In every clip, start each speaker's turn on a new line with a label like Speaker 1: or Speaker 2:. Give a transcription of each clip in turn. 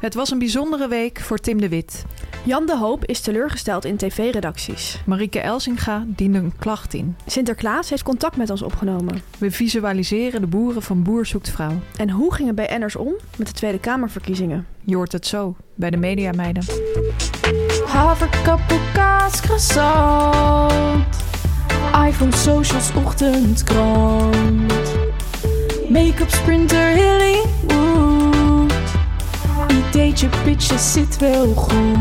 Speaker 1: Het was een bijzondere week voor Tim de Wit.
Speaker 2: Jan de Hoop is teleurgesteld in tv-redacties.
Speaker 1: Marieke Elsinga diende een klacht in.
Speaker 2: Sinterklaas heeft contact met ons opgenomen.
Speaker 1: We visualiseren de boeren van Boer Zoekt Vrouw.
Speaker 2: En hoe gingen BN'ers om met de Tweede Kamerverkiezingen?
Speaker 1: Je hoort het zo bij de Mediameiden.
Speaker 3: Haverkappelkaas, croissant. iPhone, socials, ochtendkrant. Make-up, sprinter, Hollywood. Ideetje, pitje, zit wel goed.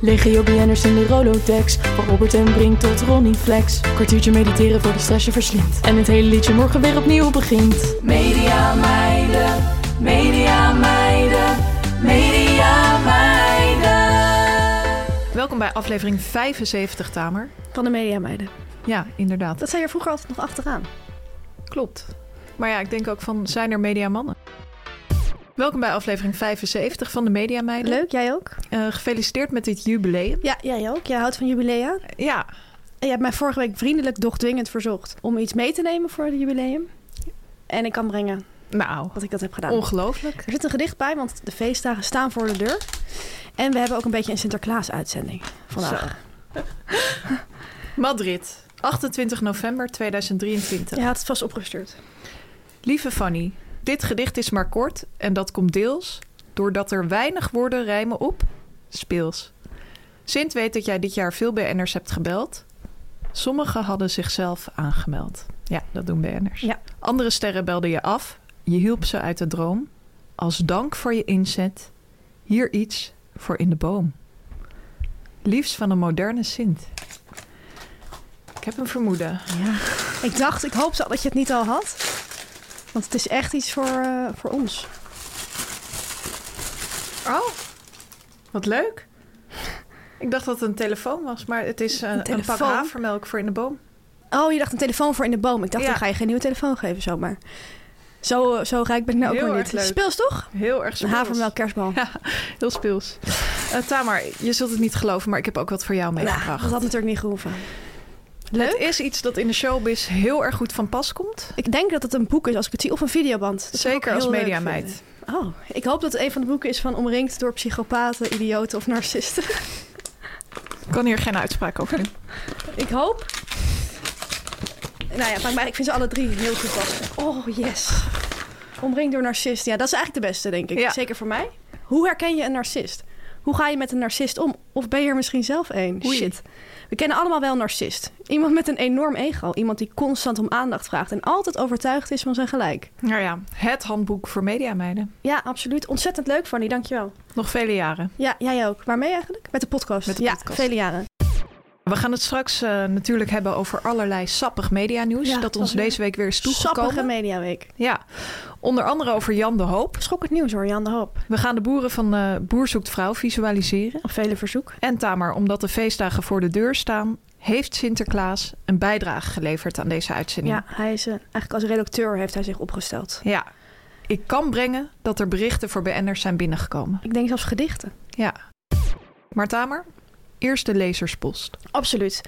Speaker 3: Legio BN'ers in de Rolodex. Van Robert en Brink tot Ronnie Flex. Kwartiertje mediteren voor de stress je verslindt. En het hele liedje morgen weer opnieuw begint. Media meiden, media meiden, media meiden.
Speaker 1: Welkom bij aflevering 75, Tamer.
Speaker 2: Van de mediameiden.
Speaker 1: Ja, inderdaad.
Speaker 2: Dat zei je vroeger altijd nog achteraan.
Speaker 1: Klopt. Maar ja, ik denk ook van, zijn er mediamannen? Welkom bij aflevering 75 van de Mediameiden.
Speaker 2: Leuk, jij ook?
Speaker 1: Eh, gefeliciteerd met dit jubileum.
Speaker 2: Ja, jij ook. Jij houdt van jubilea. En
Speaker 1: Ja,
Speaker 2: je hebt mij vorige week vriendelijk, doch dwingend verzocht om iets mee te nemen voor het jubileum. En ik kan brengen
Speaker 1: nou,
Speaker 2: dat ik dat heb gedaan.
Speaker 1: ongelooflijk.
Speaker 2: er zit een gedicht bij, want de feestdagen staan voor de deur. En we hebben ook een beetje een Sinterklaas-uitzending vandaag.
Speaker 1: Madrid, 28 november 2023.
Speaker 2: Je had het vast opgestuurd.
Speaker 1: Lieve Fanny, dit gedicht is maar kort en dat komt deels doordat er weinig woorden rijmen op speels. Sint weet dat jij dit jaar veel BN'ers hebt gebeld. Sommigen hadden zichzelf aangemeld. Ja, dat doen BN'ers.
Speaker 2: Ja.
Speaker 1: Andere sterren belden je af. Je hielp ze uit de droom. Als dank voor je inzet, hier iets voor in de boom. Liefst van een moderne Sint. Ik heb een vermoeden.
Speaker 2: Ik dacht, ik hoopte al dat je het niet al had. Want het is echt iets voor, eh, voor ons.
Speaker 1: Oh, wat leuk. Ik dacht dat het een telefoon was, maar het is eh, een, een, pak
Speaker 2: telefoon?
Speaker 1: havermelk voor in de boom.
Speaker 2: Oh, je dacht een telefoon voor in de boom. Ik dacht,
Speaker 1: Ja.
Speaker 2: dan ga je geen nieuwe telefoon geven zomaar. Zo, eh, zo rijk ben ik nou ook
Speaker 1: Heel
Speaker 2: weer
Speaker 1: erg
Speaker 2: niet.
Speaker 1: leuk.
Speaker 2: Speels toch?
Speaker 1: Heel erg
Speaker 2: Een
Speaker 1: speels.
Speaker 2: havermelk kerstbal.
Speaker 1: Ja, heel speels. Eh Tamar, je zult het niet geloven, maar ik heb ook wat voor jou
Speaker 2: Nou,
Speaker 1: meegebracht.
Speaker 2: dat had natuurlijk niet gehoeven.
Speaker 1: het
Speaker 2: Leuk.
Speaker 1: is iets dat in de showbiz heel erg goed van pas komt.
Speaker 2: Ik denk dat het een boek is als ik het zie. Of een videoband. Dat zou ik
Speaker 1: Zeker
Speaker 2: heel
Speaker 1: als
Speaker 2: leuk
Speaker 1: mediameid.
Speaker 2: vinden. Oh, ik hoop dat het een van de boeken is van Omringd door psychopaten, idioten of narcisten.
Speaker 1: Ik kan hier geen uitspraak over doen.
Speaker 2: ik hoop. Nou ja, maar- maar ik vind ze alle drie heel toepasselijk. Oh, yes. Omringd door narcisten. Ja, dat is eigenlijk de beste, denk ik.
Speaker 1: Ja.
Speaker 2: Zeker voor mij. Hoe herken je een narcist? Hoe ga je met een narcist om? Of ben je er misschien zelf een?
Speaker 1: Oei.
Speaker 2: Shit. We kennen allemaal wel een narcist. Iemand met een enorm ego. Iemand die constant om aandacht vraagt en altijd overtuigd is van zijn gelijk.
Speaker 1: Nou ja, het handboek voor mediameiden.
Speaker 2: Ja, absoluut. Ontzettend leuk, Fanny. Dankjewel.
Speaker 1: Nog vele jaren.
Speaker 2: Ja, jij ook. Waarmee eigenlijk? Met de podcast.
Speaker 1: Met de
Speaker 2: ja,
Speaker 1: podcast.
Speaker 2: vele jaren.
Speaker 1: We gaan het straks eh, natuurlijk hebben over allerlei sappig medianieuws.
Speaker 2: Ja,
Speaker 1: dat
Speaker 2: dat
Speaker 1: ons
Speaker 2: was weer
Speaker 1: deze week weer is toegekomen.
Speaker 2: Sappige Mediaweek.
Speaker 1: Ja, onder andere over Jan de Hoop.
Speaker 2: Schokkend nieuws hoor, Jan de Hoop.
Speaker 1: We gaan de boeren van eh Boer Zoekt Vrouw visualiseren.
Speaker 2: Op vele verzoek.
Speaker 1: En Tamar, omdat de feestdagen voor de deur staan, heeft Sinterklaas een bijdrage geleverd aan deze uitzending.
Speaker 2: Ja, hij is eh, eigenlijk als redacteur heeft hij zich opgesteld.
Speaker 1: Ja. Ik kan brengen dat er berichten voor BN'ers zijn binnengekomen.
Speaker 2: Ik denk zelfs gedichten.
Speaker 1: Ja. Maar Tamer, eerst de lezerspost.
Speaker 2: Absoluut.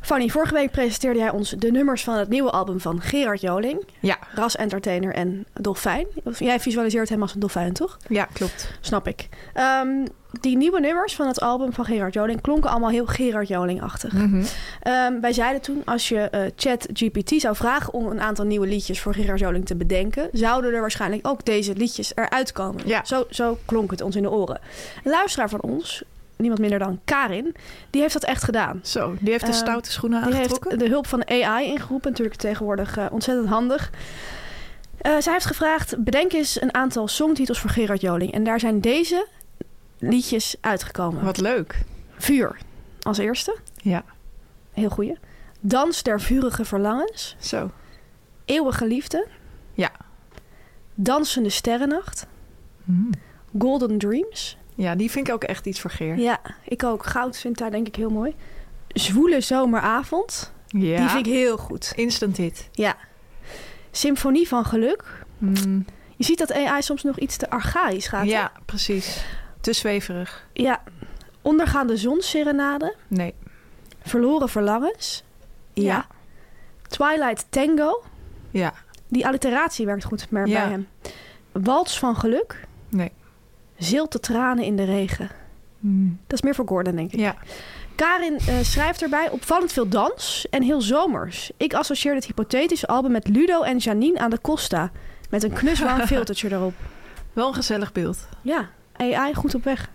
Speaker 2: Fanny, vorige week presenteerde jij ons de nummers van het nieuwe album van Gerard Joling.
Speaker 1: Ja,
Speaker 2: Ras Entertainer en Dolfijn. Jij visualiseert hem als een dolfijn, toch?
Speaker 1: ja klopt.
Speaker 2: Snap ik. Ehm, die nieuwe nummers van het album van Gerard Joling klonken allemaal heel Gerard Joling-achtig. Ehm, wij zeiden toen, als je Chat ChatGPT zou vragen om een aantal nieuwe liedjes voor Gerard Joling te bedenken, zouden er waarschijnlijk ook deze liedjes eruit komen.
Speaker 1: Ja.
Speaker 2: Zo, zo klonk het ons in de oren. Een luisteraar van ons, niemand minder dan Karin, die heeft dat echt gedaan.
Speaker 1: Zo, Eh, die heeft de
Speaker 2: Ehm,
Speaker 1: stoute schoenen
Speaker 2: Die
Speaker 1: aangetrokken.
Speaker 2: heeft de hulp van AI ingeroepen. Natuurlijk tegenwoordig eh, ontzettend handig. Eh, zij heeft gevraagd, bedenk eens een aantal songtitels voor Gerard Joling. En daar zijn deze liedjes uitgekomen.
Speaker 1: Wat leuk.
Speaker 2: Vuur als eerste.
Speaker 1: Ja,
Speaker 2: Heel goeie. Dans der vurige verlangens.
Speaker 1: zo.
Speaker 2: Eeuwige liefde.
Speaker 1: Ja.
Speaker 2: Dansende sterrennacht.
Speaker 1: Hmm.
Speaker 2: Golden Dreams.
Speaker 1: Ja, die vind ik ook echt iets voor Geer.
Speaker 2: Ja, ik ook. Goud vindt daar denk ik heel mooi. Zwoele zomeravond.
Speaker 1: Ja.
Speaker 2: Die vind ik heel goed.
Speaker 1: Instant hit.
Speaker 2: Ja. Symfonie van geluk.
Speaker 1: Mm,
Speaker 2: Je ziet dat AI soms nog iets te archaïs gaat. hè?
Speaker 1: ja, precies. Te zweverig.
Speaker 2: ja. Ondergaande zonserenade.
Speaker 1: Nee.
Speaker 2: Verloren verlangens. Ja.
Speaker 1: Ja.
Speaker 2: Twilight Tango.
Speaker 1: Ja,
Speaker 2: Die alliteratie werkt goed maar
Speaker 1: Ja.
Speaker 2: bij hem. Wals van geluk.
Speaker 1: nee.
Speaker 2: Zilte tranen in de regen. Dat is meer voor Gordon, denk ik.
Speaker 1: Ja,
Speaker 2: Karin eh, schrijft erbij opvallend veel dans en heel zomers. Ik associeer dit hypothetische album met Ludo en Janine aan de Costa. Met een knuswarm filtertje erop.
Speaker 1: wel een gezellig beeld.
Speaker 2: Ja, AI goed op weg.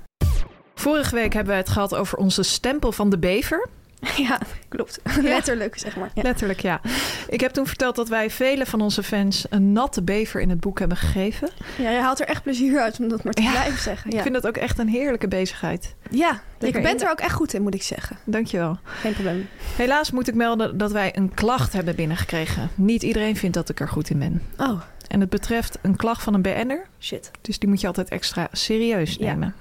Speaker 1: Vorige week hebben we het gehad over onze stempel van de bever.
Speaker 2: ja, klopt. Letterlijk, zeg maar. Ja.
Speaker 1: Letterlijk, ja. Ik heb toen verteld dat wij vele van onze fans een natte bever in het boek hebben gegeven.
Speaker 2: Ja, je haalt er echt plezier uit om dat maar te blijven zeggen. Ja,
Speaker 1: Ik vind dat ook echt een heerlijke bezigheid.
Speaker 2: ja
Speaker 1: Lekker
Speaker 2: ik ben
Speaker 1: in.
Speaker 2: er ook echt goed in, moet ik zeggen.
Speaker 1: Dankjewel.
Speaker 2: Geen probleem.
Speaker 1: Helaas moet ik melden dat wij een klacht hebben binnengekregen. Niet iedereen vindt dat ik er goed in ben.
Speaker 2: Oh,
Speaker 1: En het betreft een klacht van een BN'er,
Speaker 2: shit.
Speaker 1: dus die moet je altijd extra serieus
Speaker 2: Ja.
Speaker 1: nemen.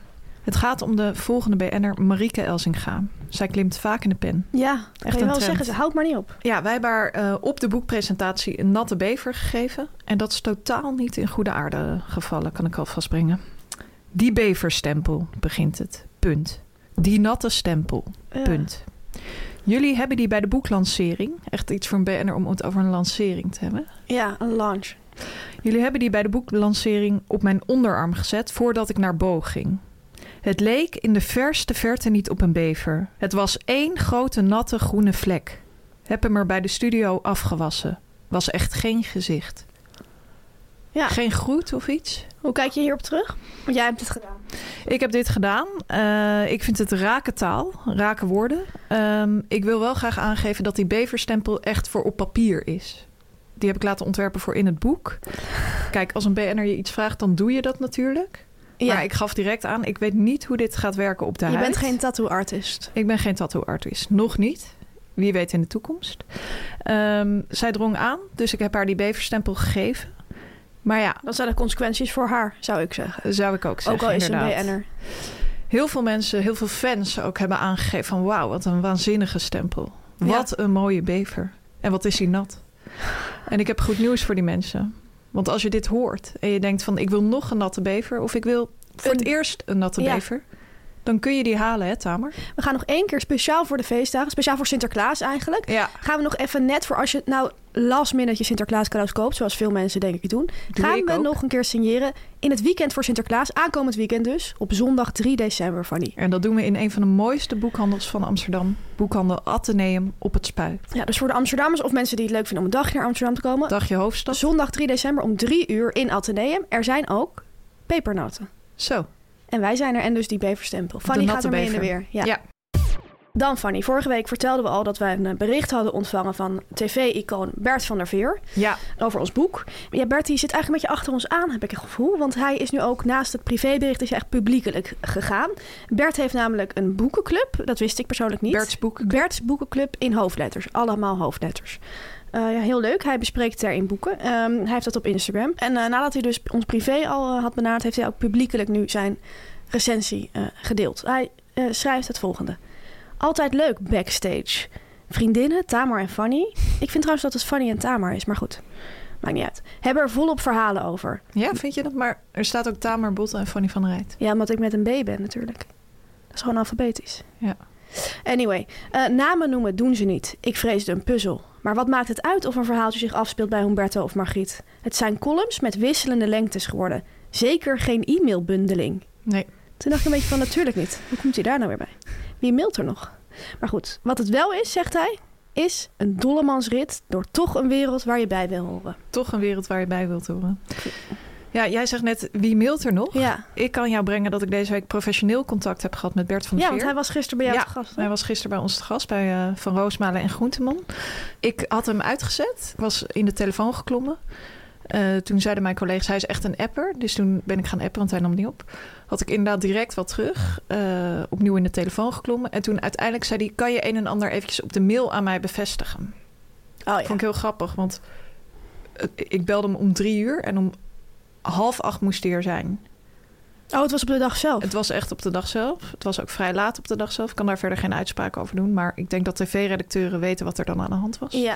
Speaker 1: Het gaat om de volgende BN'er, Marieke Elsinga. Zij klimt vaak in de pen.
Speaker 2: Ja, echt kan
Speaker 1: een
Speaker 2: je wel
Speaker 1: trend.
Speaker 2: zeggen, ze houdt maar niet op.
Speaker 1: Ja, wij hebben haar eh, op de boekpresentatie een natte bever gegeven. En dat is totaal niet in goede aarde gevallen, kan ik alvast brengen. Die beverstempel, begint het. Punt. Die natte stempel.
Speaker 2: Ja.
Speaker 1: Punt. Jullie hebben die bij de boeklancering. Echt iets voor een BN'er om het over een lancering te hebben.
Speaker 2: Ja, een launch.
Speaker 1: Jullie hebben die bij de boeklancering op mijn onderarm gezet voordat ik naar Bo ging. Het leek in de verste verte niet op een bever. Het was één grote natte groene vlek. Heb hem er bij de studio afgewassen. Was echt geen gezicht.
Speaker 2: Ja.
Speaker 1: Geen groet of iets.
Speaker 2: Hoe kijk je hierop terug? Want jij hebt het gedaan.
Speaker 1: Ik heb dit gedaan. Eh, ik vind het rake taal, rake woorden. Ehm, ik wil wel graag aangeven dat die beverstempel echt voor op papier is. Die heb ik laten ontwerpen voor in het boek. Kijk, als een BN'er je iets vraagt, dan doe je dat natuurlijk.
Speaker 2: Ja,
Speaker 1: Maar ik gaf direct aan, ik weet niet hoe dit gaat werken op de
Speaker 2: je
Speaker 1: huid.
Speaker 2: bent geen tattoo-artist.
Speaker 1: Ik ben geen tattoo-artist. Nog niet. Wie weet in de toekomst. Ehm, zij drong aan, dus ik heb haar die beverstempel gegeven. Maar ja,
Speaker 2: Dan zijn er consequenties voor haar, zou ik zeggen.
Speaker 1: zou ik ook
Speaker 2: Ook
Speaker 1: zeggen.
Speaker 2: al is ze een
Speaker 1: inderdaad
Speaker 2: BN'er.
Speaker 1: heel veel mensen, heel veel fans ook hebben aangegeven van wauw, wat een waanzinnige stempel. Wat een mooie bever. En wat is hij nat. En ik heb goed nieuws voor die mensen. Want als je dit hoort en je denkt van ik wil nog een natte bever of ik wil voor
Speaker 2: Een-
Speaker 1: het eerst een natte
Speaker 2: Ja.
Speaker 1: bever, dan kun je die halen hè Tamer?
Speaker 2: We gaan nog één keer speciaal voor de feestdagen, speciaal voor Sinterklaas eigenlijk.
Speaker 1: Ja.
Speaker 2: Gaan we nog even net voor als je nou last minute je Sinterklaas cadeaus koopt, zoals veel mensen denk ik doen. gaan
Speaker 1: ik
Speaker 2: we
Speaker 1: ook.
Speaker 2: nog een keer signeren in het weekend voor Sinterklaas, aankomend weekend dus, op zondag 3 december, Fanny.
Speaker 1: En dat doen we in een van de mooiste boekhandels van Amsterdam. Boekhandel Atheneum op het Spui.
Speaker 2: Ja, dus voor de Amsterdammers of mensen die het leuk vinden om een dagje naar Amsterdam te komen.
Speaker 1: Dagje hoofdstad.
Speaker 2: Zondag 3 december om 3 uur in Atheneum. Er zijn ook pepernoten.
Speaker 1: Zo.
Speaker 2: En wij zijn er en dus die beverstempel. Fanny gaat
Speaker 1: natte
Speaker 2: ermee in de
Speaker 1: bever.
Speaker 2: weer.
Speaker 1: Ja.
Speaker 2: Dan Fanny, vorige week vertelden we al dat wij een eh, bericht hadden ontvangen van tv-icoon Bert van der Veer.
Speaker 1: Ja.
Speaker 2: over ons boek. Ja, Bert die zit eigenlijk een beetje achter ons aan, heb ik het gevoel. Want hij is nu ook naast het privébericht is hij echt publiekelijk gegaan. Bert heeft namelijk een boekenclub. Dat wist ik persoonlijk niet.
Speaker 1: Bert's boeken.
Speaker 2: Bert's boekenclub in hoofdletters. Allemaal hoofdletters. Eh, ja, heel leuk. Hij bespreekt daarin boeken. Ehm, hij heeft dat op Instagram. En eh, nadat hij dus ons privé al eh, had benaderd... heeft hij ook publiekelijk nu zijn recensie eh, gedeeld. Hij eh, schrijft het volgende. Altijd leuk backstage. Vriendinnen, Tamar en Fanny. Ik vind trouwens dat het Fanny en Tamar is, maar goed. Maakt niet uit. Hebben er volop verhalen over.
Speaker 1: Ja, vind je dat? Maar er staat ook Tamer Botten en Fanny van Rijt.
Speaker 2: Ja, omdat ik met een B ben natuurlijk. Dat is gewoon alfabetisch.
Speaker 1: Ja.
Speaker 2: Anyway, eh, namen noemen doen ze niet. Ik vreesde een puzzel. Maar wat maakt het uit of een verhaaltje zich afspeelt bij Humberto of Margriet? Het zijn columns met wisselende lengtes geworden. Zeker geen e-mailbundeling.
Speaker 1: Nee.
Speaker 2: Toen dacht ik een beetje van natuurlijk niet. Hoe komt hij daar nou weer bij? Wie mailt er nog? Maar goed, wat het wel is, zegt hij, is een dollemansrit door toch een wereld waar je bij wil horen.
Speaker 1: Toch een wereld waar je bij wilt horen. Ja, jij zegt net, wie mailt er nog?
Speaker 2: Ja,
Speaker 1: Ik kan jou brengen dat ik deze week professioneel contact heb gehad met Bert van
Speaker 2: ja
Speaker 1: Veer.
Speaker 2: want hij was gisteren bij jou
Speaker 1: Ja,
Speaker 2: te gast. hè?
Speaker 1: Hij was gisteren bij ons te gast bij eh, Van Roosmalen en Groenteman. Ik had hem uitgezet, was in de telefoon geklommen. Eh, toen zeiden mijn collega's, hij is echt een apper. Dus toen ben ik gaan appen, want hij nam niet op. Had ik inderdaad direct wat terug. eh, opnieuw in de telefoon geklommen. En toen uiteindelijk zei hij, kan je een en ander eventjes op de mail aan mij bevestigen?
Speaker 2: Oh ja.
Speaker 1: Vond ik heel grappig, want eh, ik belde hem om drie uur. En om half acht moest hij er zijn.
Speaker 2: Oh, het was op de dag zelf.
Speaker 1: Het was echt op de dag zelf. Het was ook vrij laat op de dag zelf. Ik kan daar verder geen uitspraak over doen. Maar ik denk dat tv-redacteuren weten wat er dan aan de hand was.
Speaker 2: Ja.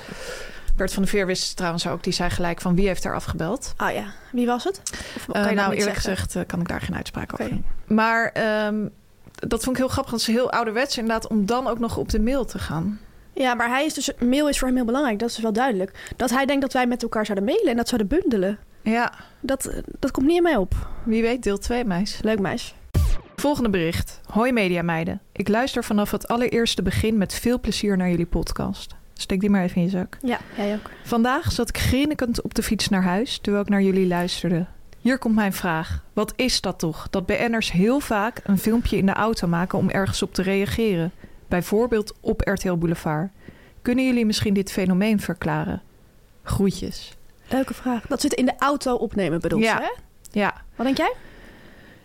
Speaker 1: Bert van de Veer wist het trouwens ook. Die zei gelijk van wie heeft er afgebeld.
Speaker 2: Oh ja. Wie was het? Of kan
Speaker 1: Eh,
Speaker 2: je dat
Speaker 1: nou,
Speaker 2: niet
Speaker 1: eerlijk
Speaker 2: zeggen?
Speaker 1: gezegd eh, kan ik daar geen uitspraak
Speaker 2: Oké.
Speaker 1: over doen. Maar ehm, dat vond ik heel grappig. Dat ze heel ouderwets inderdaad om dan ook nog op de mail te gaan.
Speaker 2: Ja, maar hij is dus, mail is voor hem heel belangrijk, dat is wel duidelijk. Dat hij denkt dat wij met elkaar zouden mailen en dat zouden bundelen.
Speaker 1: Ja,
Speaker 2: Dat, eh, dat komt niet in mij op.
Speaker 1: wie weet deel 2 meis.
Speaker 2: Leuk meisje.
Speaker 1: Volgende bericht. Hoi Mediameiden. Ik luister vanaf het allereerste begin met veel plezier naar jullie podcast. Steek die maar even in je zak.
Speaker 2: Ja, jij ook.
Speaker 1: Vandaag zat ik grinnikend op de fiets naar huis terwijl ik naar jullie luisterde. Hier komt mijn vraag. Wat is dat toch? Dat BN'ers heel vaak een filmpje in de auto maken om ergens op te reageren. Bijvoorbeeld op RTL Boulevard. Kunnen jullie misschien dit fenomeen verklaren? Groetjes.
Speaker 2: Leuke vraag. Dat zit in de auto opnemen bedoelt
Speaker 1: Ja.
Speaker 2: ze, hè?
Speaker 1: Ja,
Speaker 2: Wat denk jij?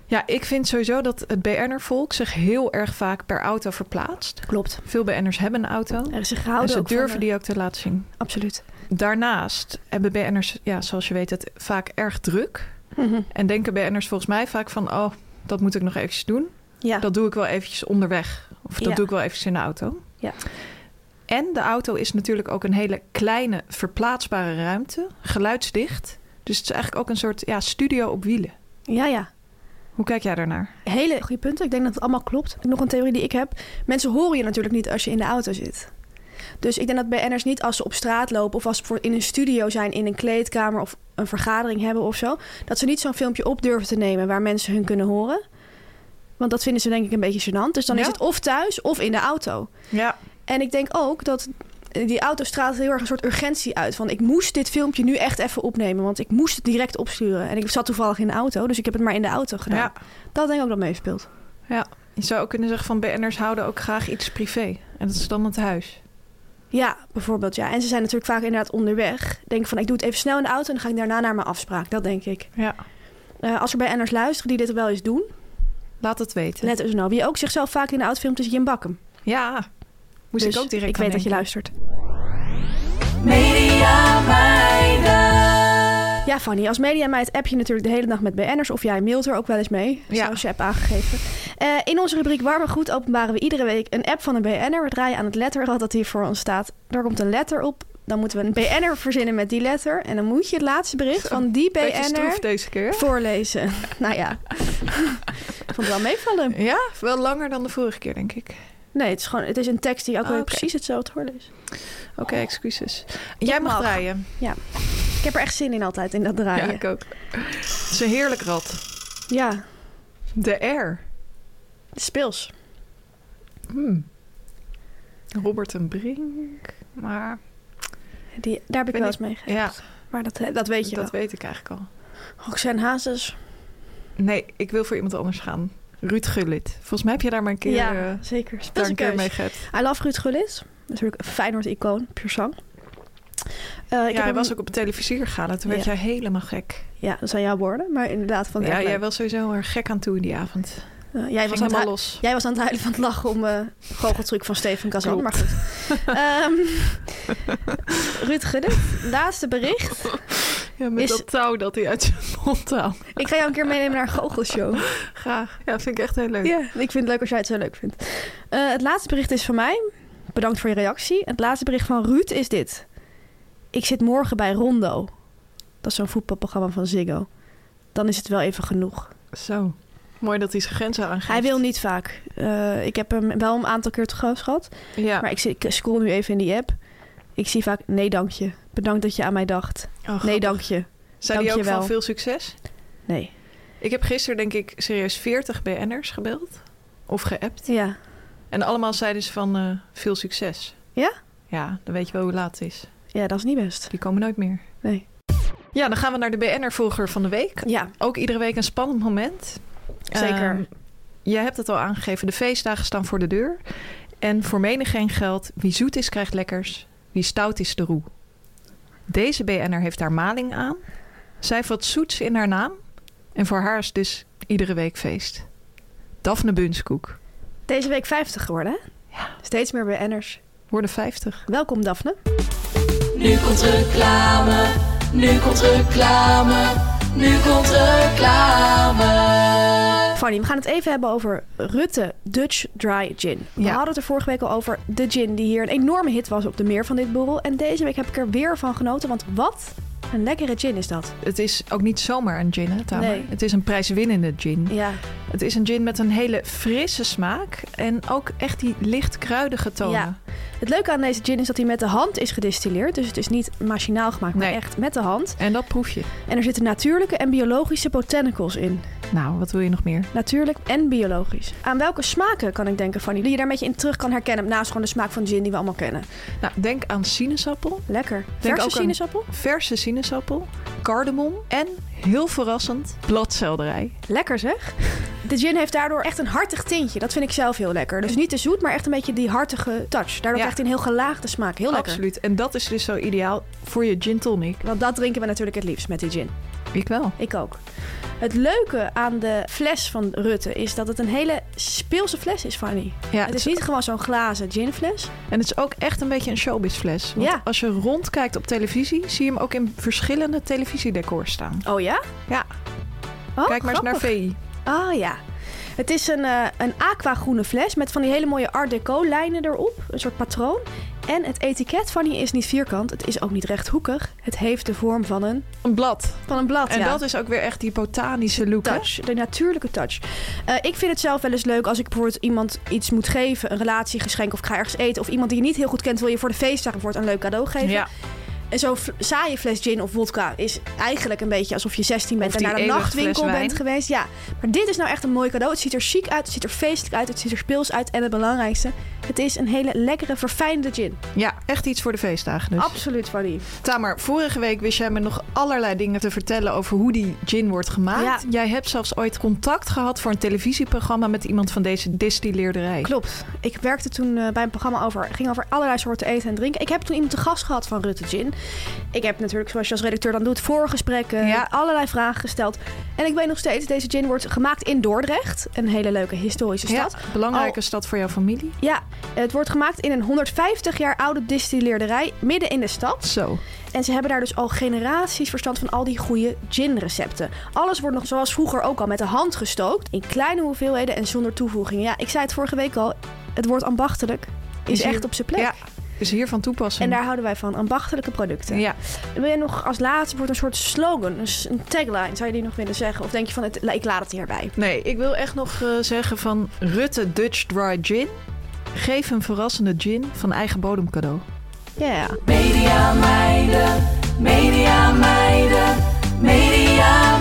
Speaker 1: ja ik vind sowieso dat het BN'er-volk zich heel erg vaak per auto verplaatst.
Speaker 2: Klopt.
Speaker 1: Veel BN'ers hebben een auto.
Speaker 2: Er is een
Speaker 1: En
Speaker 2: gehouden
Speaker 1: ze
Speaker 2: ook van
Speaker 1: durven
Speaker 2: de-
Speaker 1: die ook te laten zien.
Speaker 2: Absoluut.
Speaker 1: Daarnaast hebben BN'ers, ja, zoals je weet, het vaak erg druk.
Speaker 2: Mhm.
Speaker 1: En denken BN'ers volgens mij vaak van... oh, dat moet ik nog eventjes doen.
Speaker 2: Ja.
Speaker 1: Dat doe ik wel eventjes onderweg. Of dat
Speaker 2: Ja.
Speaker 1: doe ik wel eventjes in de auto.
Speaker 2: Ja.
Speaker 1: En de auto is natuurlijk ook een hele kleine verplaatsbare ruimte. Geluidsdicht. Dus het is eigenlijk ook een soort ja, studio op wielen.
Speaker 2: ja, ja.
Speaker 1: Hoe kijk jij daarnaar?
Speaker 2: Hele goede punten. Ik denk dat het allemaal klopt. Nog een theorie die ik heb. Mensen horen je natuurlijk niet als je in de auto zit. Dus ik denk dat BN'ers niet als ze op straat lopen... of als ze voor- in een studio zijn, in een kleedkamer... of een vergadering hebben of zo... dat ze niet zo'n filmpje op durven te nemen... waar mensen hun kunnen horen. Want dat vinden ze denk ik een beetje gênant. Dus dan
Speaker 1: Ja.
Speaker 2: is het of thuis of in de auto.
Speaker 1: Ja.
Speaker 2: En ik denk ook dat die auto straalt heel erg een soort urgentie uit. Van ik moest dit filmpje nu echt even opnemen... want ik moest het direct opsturen. En ik zat toevallig in de auto, dus ik heb het maar in de auto gedaan.
Speaker 1: Ja.
Speaker 2: Dat denk ik ook dat meespeelt.
Speaker 1: Je zou ook kunnen zeggen van BN'ers houden ook graag iets privé. En dat is dan het huis.
Speaker 2: Ja, bijvoorbeeld ja. En ze zijn natuurlijk vaak inderdaad onderweg. Denken van ik doe het even snel in de auto en dan ga ik daarna naar mijn afspraak. Dat denk ik.
Speaker 1: Ja.
Speaker 2: Eh, als er bij Enners luisteren die dit wel eens doen,
Speaker 1: Laat het weten.
Speaker 2: let us know. Wie ook zichzelf vaak in de auto filmt is Jim Bakkum.
Speaker 1: Ja. Moest
Speaker 2: Dus
Speaker 1: ik ook direct
Speaker 2: ik
Speaker 1: aan
Speaker 2: weet dat je
Speaker 1: denken.
Speaker 2: luistert.
Speaker 3: Media meiden.
Speaker 2: Ja, Fanny, als mediameid app je natuurlijk de hele dag met BN'ers. Of jij mailt er ook wel eens mee,
Speaker 1: Ja.
Speaker 2: zoals je hebt aangegeven. Eh, in onze rubriek Warme Goed openbaren we iedere week een app van een BN'er. We draaien aan het letterrad dat hier voor ons staat. Daar komt een letter op. Dan moeten we een BN'er verzinnen met die letter. En dan moet je het laatste bericht
Speaker 1: Zo,
Speaker 2: van die
Speaker 1: Beetje
Speaker 2: BN'er...
Speaker 1: stroef deze keer.
Speaker 2: voorlezen. nou ja, ik vond het wel meevallen.
Speaker 1: Ja, wel langer dan de vorige keer, denk ik.
Speaker 2: Nee, het is gewoon het is een tekst die ook weer
Speaker 1: Ah, Oké.
Speaker 2: precies hetzelfde voorleest.
Speaker 1: Oké, excuses. Jij mag,
Speaker 2: mag.
Speaker 1: draaien.
Speaker 2: Ik heb er echt zin in altijd, in dat draaien.
Speaker 1: Ja, ik ook. Het is een heerlijk rad.
Speaker 2: Ja,
Speaker 1: De R.
Speaker 2: speels.
Speaker 1: Robert en Brink. Maar
Speaker 2: Die, daar heb ik
Speaker 1: Ben
Speaker 2: wel
Speaker 1: ik-
Speaker 2: eens mee gegeven.
Speaker 1: ja,
Speaker 2: Maar dat, dat weet je
Speaker 1: dat
Speaker 2: wel.
Speaker 1: weet ik eigenlijk al.
Speaker 2: Roxanne Hazes.
Speaker 1: Nee, ik wil voor iemand anders gaan. Ruud Gullit. Volgens mij heb je daar maar een keer, eh,
Speaker 2: ja, zeker.
Speaker 1: daar
Speaker 2: Speels
Speaker 1: een
Speaker 2: een
Speaker 1: keer mee
Speaker 2: keus.
Speaker 1: gehad.
Speaker 2: I love Ruud Gullit. Natuurlijk een Feyenoord-icoon, puur zang. Eh, ik
Speaker 1: Ja,
Speaker 2: heb
Speaker 1: hij
Speaker 2: hem-
Speaker 1: was ook op televisie gegaan. Toen werd
Speaker 2: Ja.
Speaker 1: jij helemaal gek.
Speaker 2: ja, dat zijn jouw woorden, maar inderdaad van
Speaker 1: Ja,
Speaker 2: erg
Speaker 1: jij
Speaker 2: leuk.
Speaker 1: was sowieso er gek aan toe in die avond.
Speaker 2: Eh, jij
Speaker 1: Hij
Speaker 2: was
Speaker 1: was
Speaker 2: aan het
Speaker 1: helemaal
Speaker 2: hu-
Speaker 1: los.
Speaker 2: Jij was aan het huilen van het lachen om eh goocheltruc van Steven Kazan,
Speaker 1: Klopt.
Speaker 2: maar goed. Ehm Ruud Gudde, laatste bericht.
Speaker 1: Ja, met
Speaker 2: Is-
Speaker 1: dat touw dat hij uit zijn mond haalt.
Speaker 2: Ik ga jou een keer meenemen naar een goochelshow.
Speaker 1: Graag. Ja, vind ik echt heel leuk.
Speaker 2: Oh. Ja, ik vind het leuk als jij het zo leuk vindt. Eh, het laatste bericht is van mij. Bedankt voor je reactie. Het laatste bericht van Ruud is dit. Ik zit morgen bij Rondo. Dat is zo'n voetbalprogramma van Ziggo. Dan is het wel even genoeg.
Speaker 1: Zo. Mooi dat hij zijn grenzen aangeeft.
Speaker 2: Hij wil niet vaak. Eh, ik heb hem wel een aantal keer te gast gehad.
Speaker 1: Ja.
Speaker 2: Maar ik, zie- ik scroll nu even in die app. Ik zie vaak, nee dank je. Bedankt dat je aan mij dacht.
Speaker 1: Oh,
Speaker 2: Nee
Speaker 1: grappig.
Speaker 2: dank je.
Speaker 1: Zijn die ook
Speaker 2: dankjewel.
Speaker 1: van veel succes?
Speaker 2: Nee.
Speaker 1: Ik heb gisteren denk ik serieus 40 BN'ers gebeld. Of geappt.
Speaker 2: Ja.
Speaker 1: En allemaal zeiden ze van eh, veel succes.
Speaker 2: Ja?
Speaker 1: Ja, dan weet je wel hoe laat het is.
Speaker 2: Ja, dat is niet best.
Speaker 1: Die komen nooit meer.
Speaker 2: Nee.
Speaker 1: Ja, dan gaan we naar de BN'er-volger van de week.
Speaker 2: Ja,
Speaker 1: Ook iedere week een spannend moment.
Speaker 2: Zeker.
Speaker 1: Ehm, jij hebt het al aangegeven. De feestdagen staan voor de deur. En voor menig geen geld. Wie zoet is, krijgt lekkers. Wie stout is, de roe. Deze BN'er heeft daar maling aan. Zij heeft wat zoets in haar naam. En voor haar is dus iedere week feest. Daphne Bunskoek.
Speaker 2: deze week 50 geworden. Hè? Steeds meer BN'ers.
Speaker 1: Worden 50.
Speaker 2: Welkom Daphne.
Speaker 3: Nu komt reclame, nu komt reclame, nu komt reclame.
Speaker 2: Fanny, we gaan het even hebben over Rutte Dutch Dry Gin. We
Speaker 1: Ja.
Speaker 2: hadden het er vorige week al over de gin die hier een enorme hit was op de meer van dit borrel. En deze week heb ik er weer van genoten, want wat een lekkere gin is dat.
Speaker 1: Het is ook niet zomaar een gin, hè, Tamer?
Speaker 2: Nee.
Speaker 1: Het is een prijswinnende gin.
Speaker 2: Ja,
Speaker 1: Het is een gin met een hele frisse smaak. En ook echt die licht kruidige tonen.
Speaker 2: Ja. het leuke aan deze gin is dat hij met de hand is gedistilleerd. Dus het is niet machinaal gemaakt, maar
Speaker 1: Nee.
Speaker 2: echt met de hand.
Speaker 1: En dat proef je.
Speaker 2: En er zitten natuurlijke en biologische botanicals in.
Speaker 1: Nou, wat wil je nog meer?
Speaker 2: Natuurlijk en biologisch. Aan welke smaken kan ik denken, Fanny, die je daar een beetje in terug kan herkennen? Naast gewoon de smaak van gin die we allemaal kennen.
Speaker 1: Nou, denk aan sinaasappel,
Speaker 2: Lekker. Verse
Speaker 1: ook aan-
Speaker 2: sinaasappel?
Speaker 1: verse sinaasappel, cardamom en, heel verrassend, bladselderij.
Speaker 2: Lekker zeg. De gin heeft daardoor echt een hartig tintje. Dat vind ik zelf heel lekker. Dus niet te zoet, maar echt een beetje die hartige touch. Daardoor
Speaker 1: Ja.
Speaker 2: krijgt hij een heel gelaagde smaak. Heel lekker.
Speaker 1: Absoluut. En dat is dus zo ideaal voor je gin tonic.
Speaker 2: Want dat drinken we natuurlijk het liefst met die gin.
Speaker 1: Ik wel.
Speaker 2: Ik ook. Het leuke aan de fles van Rutte is dat het een hele speelse fles is, Fanny.
Speaker 1: Ja,
Speaker 2: het is niet gewoon zo'n glazen ginfles.
Speaker 1: En het is ook echt een beetje een showbizfles. Want
Speaker 2: Ja.
Speaker 1: als je rondkijkt op televisie, zie je hem ook in verschillende televisiedecors staan.
Speaker 2: Oh ja?
Speaker 1: Ja,
Speaker 2: Oh,
Speaker 1: kijk maar eens naar
Speaker 2: grappig.
Speaker 1: VI.
Speaker 2: Ah ja. Het is een, eh een aquagroene fles met van die hele mooie Art Deco lijnen erop. Een soort patroon. En het etiket van die is niet vierkant. Het is ook niet rechthoekig. Het heeft de vorm van een,
Speaker 1: Een blad.
Speaker 2: van een blad.
Speaker 1: En
Speaker 2: ja.
Speaker 1: dat is ook weer echt die botanische look. hè?
Speaker 2: touch, de natuurlijke touch. Eh, ik vind het zelf wel eens leuk als ik bijvoorbeeld iemand iets moet geven. Een relatie, geschenk of ik ga ergens eten. Of iemand die je niet heel goed kent wil je voor de feestdagen bijvoorbeeld een leuk cadeau geven.
Speaker 1: Ja.
Speaker 2: En zo'n f- saaie fles gin of vodka is eigenlijk een beetje alsof je 16 bent
Speaker 1: Of
Speaker 2: en
Speaker 1: die
Speaker 2: naar een
Speaker 1: eeuwige
Speaker 2: nachtwinkel
Speaker 1: fles wijn.
Speaker 2: bent geweest. Ja, maar dit is nou echt een mooi cadeau. Het ziet er chic uit, het ziet er feestelijk uit, het ziet er speels uit. En het belangrijkste, het is een hele lekkere, verfijnde gin.
Speaker 1: ja, echt iets voor de feestdagen dus.
Speaker 2: Absoluut, Fanny.
Speaker 1: Tamer, vorige week wist jij me nog allerlei dingen te vertellen over hoe die gin wordt gemaakt.
Speaker 2: Ja.
Speaker 1: Jij hebt zelfs ooit contact gehad voor een televisieprogramma met iemand van deze distilleerderij.
Speaker 2: Klopt. Ik werkte toen eh, bij een programma over, ging over allerlei soorten eten en drinken. Ik heb toen iemand te gast gehad van Rutte Gin. Ik heb natuurlijk, zoals je als redacteur dan doet, voorgesprekken,
Speaker 1: Ja.
Speaker 2: allerlei vragen gesteld. En ik weet nog steeds, deze gin wordt gemaakt in Dordrecht. Een hele leuke historische
Speaker 1: Ja,
Speaker 2: stad.
Speaker 1: belangrijke
Speaker 2: Oh.
Speaker 1: stad voor jouw familie.
Speaker 2: Ja, het wordt gemaakt in een 150 jaar oude distilleerderij midden in de stad.
Speaker 1: Zo.
Speaker 2: En ze hebben daar dus al generaties verstand van al die goede ginrecepten. Alles wordt nog zoals vroeger ook al met de hand gestookt. In kleine hoeveelheden en zonder toevoegingen. Ja, ik zei het vorige week al. Het woord ambachtelijk is,
Speaker 1: Is hier-
Speaker 2: echt op zijn plek.
Speaker 1: Ja, is hier van toepassing.
Speaker 2: En daar houden wij van, ambachtelijke producten.
Speaker 1: ja.
Speaker 2: Wil je nog als laatste wordt een soort slogan, een s- een tagline, zou je die nog willen zeggen? Of denk je van, het, ik laat het hierbij?
Speaker 1: Nee, ik wil echt nog eh, zeggen van Rutte Dutch Dry Gin. Geef een verrassende gin van eigen bodem cadeau.
Speaker 2: Ja,
Speaker 3: Media meiden, media meiden, media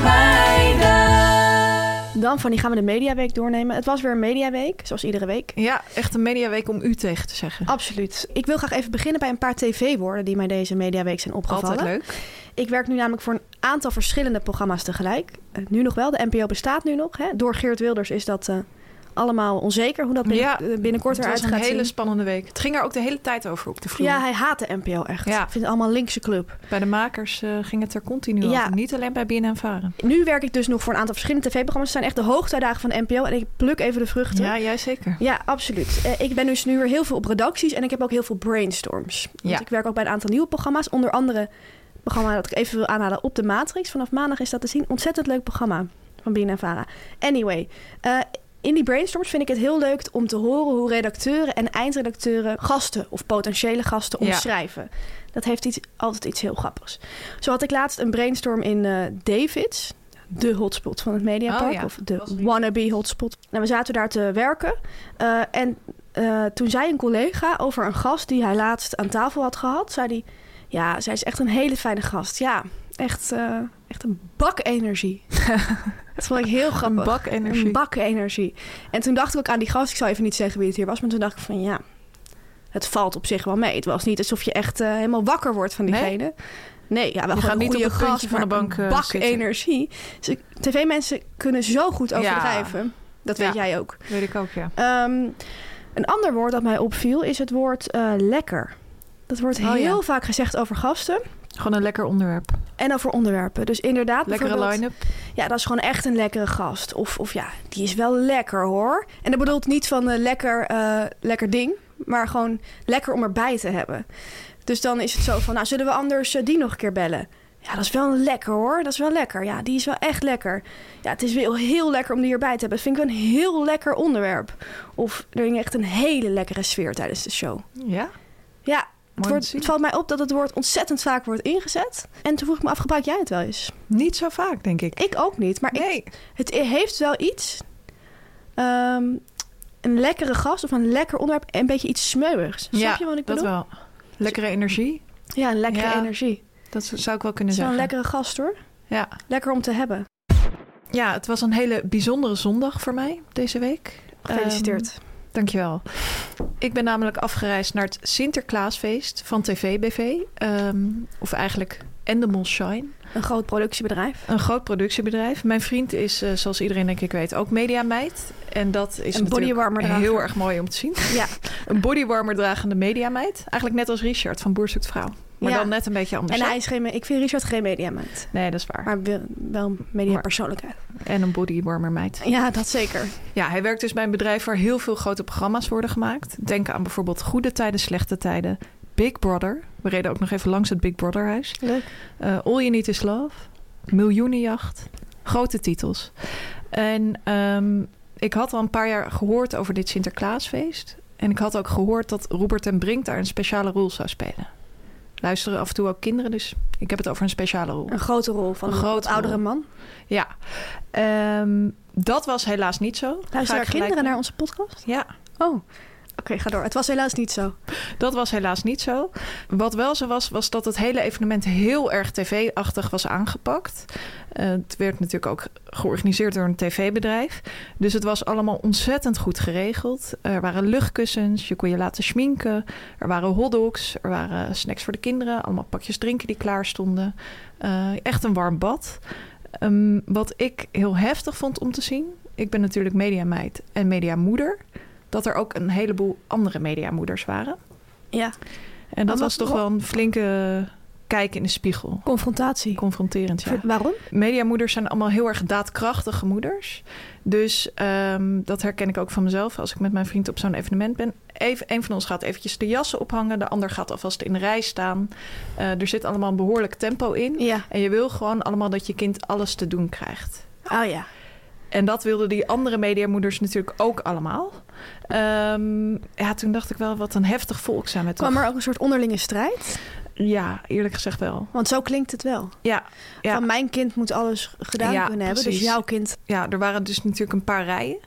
Speaker 3: meiden.
Speaker 2: dan van die gaan we de Mediaweek doornemen. Het was weer een Mediaweek, zoals iedere week.
Speaker 1: Ja, echt een mediaweek om u tegen te zeggen.
Speaker 2: Absoluut. Ik wil graag even beginnen bij een paar tv-woorden die mij deze mediaweek zijn opgevallen.
Speaker 1: Altijd leuk.
Speaker 2: Ik werk nu namelijk voor een aantal verschillende programma's tegelijk. Eh, nu nog wel, de NPO bestaat nu nog. Hè? Door Geert Wilders is dat eh, allemaal onzeker hoe dat binnen-
Speaker 1: Ja,
Speaker 2: eh, binnenkort
Speaker 1: Het was
Speaker 2: eruit
Speaker 1: een
Speaker 2: gaat
Speaker 1: hele
Speaker 2: zien.
Speaker 1: spannende week. Het ging er ook de hele tijd over op de vloer.
Speaker 2: Ja, hij haat de NPO echt.
Speaker 1: Ja.
Speaker 2: Ik vind het allemaal linkse club.
Speaker 1: Bij de makers eh, ging het er continu
Speaker 2: Ja.
Speaker 1: over. Niet alleen bij BNN Varen.
Speaker 2: Nu werk ik dus nog voor een aantal verschillende tv-programma's. Het zijn echt de hoogtijdagen van de NPO. En ik pluk even de vruchten.
Speaker 1: Ja, jij zeker.
Speaker 2: Ja, absoluut. Eh, ik ben dus nu weer heel veel op redacties en ik heb ook heel veel brainstorms. Want
Speaker 1: Ja.
Speaker 2: ik werk ook bij een aantal nieuwe programma's. Onder andere het programma dat ik even wil aanhalen op de Matrix. Vanaf maandag is dat te zien. Ontzettend leuk programma van Bina Vara. Anyway, eh, in die brainstorms vind ik het heel leuk om te horen hoe redacteuren en eindredacteuren gasten of potentiële gasten
Speaker 1: Ja.
Speaker 2: omschrijven. Dat heeft iets, altijd iets heel grappigs. Zo had ik laatst een brainstorm in eh Davids. de hotspot van het Mediapark.
Speaker 1: Oh ja,
Speaker 2: Of
Speaker 1: dat was
Speaker 2: de
Speaker 1: weer-
Speaker 2: wannabe hotspot. Nou, we zaten daar te werken. eh, en eh, toen zei een collega over een gast die hij laatst aan tafel had gehad... zei hij, ja, zij is echt een hele fijne gast. Ja, echt, eh, echt een bak energie. dat vond ik heel grappig.
Speaker 1: Een bak energie.
Speaker 2: Een bak energie. En toen dacht ik ook aan die gast, ik zal even niet zeggen wie het hier was, maar toen dacht ik van ja, het valt op zich wel mee. Het was niet alsof je echt eh, helemaal wakker wordt van diegene. Nee, ja, wel
Speaker 1: Je
Speaker 2: gewoon
Speaker 1: gaat
Speaker 2: een
Speaker 1: niet op
Speaker 2: goede
Speaker 1: het puntje
Speaker 2: gast,
Speaker 1: van de
Speaker 2: maar
Speaker 1: bank,
Speaker 2: een
Speaker 1: eh,
Speaker 2: bak
Speaker 1: zitten.
Speaker 2: energie. Dus ik- tv-mensen kunnen zo goed
Speaker 1: Ja.
Speaker 2: overdrijven. Dat weet
Speaker 1: Ja.
Speaker 2: jij ook.
Speaker 1: Weet ik ook, ja.
Speaker 2: Ehm, een ander woord dat mij opviel is het woord eh, lekker. Dat wordt
Speaker 1: Oh, ja.
Speaker 2: heel vaak gezegd over gasten
Speaker 1: Gewoon een lekker onderwerp.
Speaker 2: en over onderwerpen. Dus inderdaad,
Speaker 1: Lekkere
Speaker 2: bijvoorbeeld-
Speaker 1: line-up.
Speaker 2: ja, dat is gewoon echt een lekkere gast. Of, of ja, die is wel lekker hoor. En dat bedoelt niet van eh, lekker, eh, lekker ding, maar gewoon lekker om erbij te hebben. Dus dan is het zo van, nou zullen we anders eh, die nog een keer bellen? Ja, dat is wel een lekker hoor. Dat is wel lekker. Ja, die is wel echt lekker. Ja, het is wel heel lekker om die erbij te hebben. Dat vind ik wel een heel lekker onderwerp. Of er ging echt een hele lekkere sfeer tijdens de show.
Speaker 1: Ja?
Speaker 2: Ja, het,
Speaker 1: te
Speaker 2: wordt,
Speaker 1: zien.
Speaker 2: het valt mij op dat het woord ontzettend vaak wordt ingezet. En toen vroeg ik me af, gebruik jij het wel eens?
Speaker 1: Niet zo vaak, denk ik.
Speaker 2: Ik ook niet, maar ik
Speaker 1: Nee.
Speaker 2: het heeft wel iets. ehm, een lekkere gast of een lekker onderwerp. en Een beetje iets smeuigs. Snap
Speaker 1: ja,
Speaker 2: je wat ik
Speaker 1: dat
Speaker 2: bedoel?
Speaker 1: wel. Lekkere energie.
Speaker 2: Ja, een lekkere
Speaker 1: Ja,
Speaker 2: energie.
Speaker 1: Dat zou ik wel kunnen
Speaker 2: Zo'n
Speaker 1: zeggen.
Speaker 2: lekkere gast hoor.
Speaker 1: Ja. Ehm,
Speaker 2: Lekker om te hebben.
Speaker 1: Ja, het was een hele bijzondere zondag voor mij deze week.
Speaker 2: Gefeliciteerd.
Speaker 1: Ehm, dankjewel. Ik ben namelijk afgereisd naar het Sinterklaasfeest van TVBV. ehm, of eigenlijk Endemol Shine.
Speaker 2: een groot productiebedrijf.
Speaker 1: Een groot productiebedrijf. Mijn vriend is, eh, zoals iedereen denk ik weet, ook mediameid. En dat is
Speaker 2: Een
Speaker 1: natuurlijk
Speaker 2: bodywarmer drager.
Speaker 1: heel erg mooi om te zien.
Speaker 2: Ja.
Speaker 1: Een bodywarmer dragende mediameid. Eigenlijk net als Richard van Boer Zoekt Vrouw. Maar
Speaker 2: Ja.
Speaker 1: dan net een beetje anders.
Speaker 2: En
Speaker 1: hè?
Speaker 2: hij is geen, me- ik vind Richard geen mediamens.
Speaker 1: Nee, dat is waar.
Speaker 2: Maar wel- wel mediapersoonlijkheid.
Speaker 1: En een bodywarmer meid.
Speaker 2: Ja, dat zeker.
Speaker 1: Ja, hij werkt dus bij een bedrijf waar heel veel grote programma's worden gemaakt. Denk aan bijvoorbeeld Goede Tijden, Slechte Tijden, Big Brother. We reden ook nog even langs het Big Brother huis.
Speaker 2: Leuk.
Speaker 1: Eh, All You Need Is Love, Miljoenenjacht. Grote titels. En ehm, ik had al een paar jaar gehoord over dit Sinterklaasfeest. En ik had ook gehoord dat Robert en Brink daar een speciale rol zou spelen. Luisteren af en toe ook kinderen, dus ik heb het over een speciale rol.
Speaker 2: Een grote rol van een,
Speaker 1: Een grote
Speaker 2: wat oudere
Speaker 1: rol.
Speaker 2: man.
Speaker 1: Ja, Ehm, dat was helaas niet zo. Ga
Speaker 2: Luisteren
Speaker 1: ik
Speaker 2: er
Speaker 1: gelijk
Speaker 2: kinderen
Speaker 1: mee.
Speaker 2: naar onze podcast?
Speaker 1: Ja,
Speaker 2: Oh, oké, ga door. Het was helaas niet zo.
Speaker 1: Dat was helaas niet zo. Wat wel zo was, was dat het hele evenement heel erg tv-achtig was aangepakt. Eh, het werd natuurlijk ook georganiseerd door een tv-bedrijf. Dus het was allemaal ontzettend goed geregeld. Er waren luchtkussens, je kon je laten schminken. Er waren hotdogs, er waren snacks voor de kinderen. Allemaal pakjes drinken die klaar stonden. Eh, echt een warm bad. Ehm, wat ik heel heftig vond om te zien... Ik ben natuurlijk mediameid en mediamoeder. Dat er ook een heleboel andere mediamoeders waren.
Speaker 2: Ja,
Speaker 1: En dat
Speaker 2: Maar
Speaker 1: was
Speaker 2: wat-
Speaker 1: toch wel een flinke kijk in de spiegel.
Speaker 2: confrontatie.
Speaker 1: Confronterend, ja.
Speaker 2: Ver- Waarom?
Speaker 1: Mediamoeders zijn allemaal heel erg daadkrachtige moeders. Dus ehm, dat herken ik ook van mezelf als ik met mijn vriend op zo'n evenement ben. Even, een van ons gaat eventjes de jassen ophangen, de ander gaat alvast in de rij staan. Eh, er zit allemaal een behoorlijk tempo in.
Speaker 2: Ja.
Speaker 1: En je wil gewoon allemaal dat je kind alles te doen krijgt.
Speaker 2: Oh ja.
Speaker 1: En dat wilden die andere mediamoeders natuurlijk ook allemaal. Ehm, ja, toen dacht ik wel, wat een heftig volk zijn we toch.
Speaker 2: Kwam er ook een soort onderlinge strijd?
Speaker 1: Ja, eerlijk gezegd wel.
Speaker 2: Want zo klinkt het wel.
Speaker 1: Ja, ja.
Speaker 2: Van mijn kind moet alles gedaan
Speaker 1: Ja,
Speaker 2: kunnen hebben.
Speaker 1: precies.
Speaker 2: Dus jouw kind.
Speaker 1: ja, er waren dus natuurlijk een paar rijen.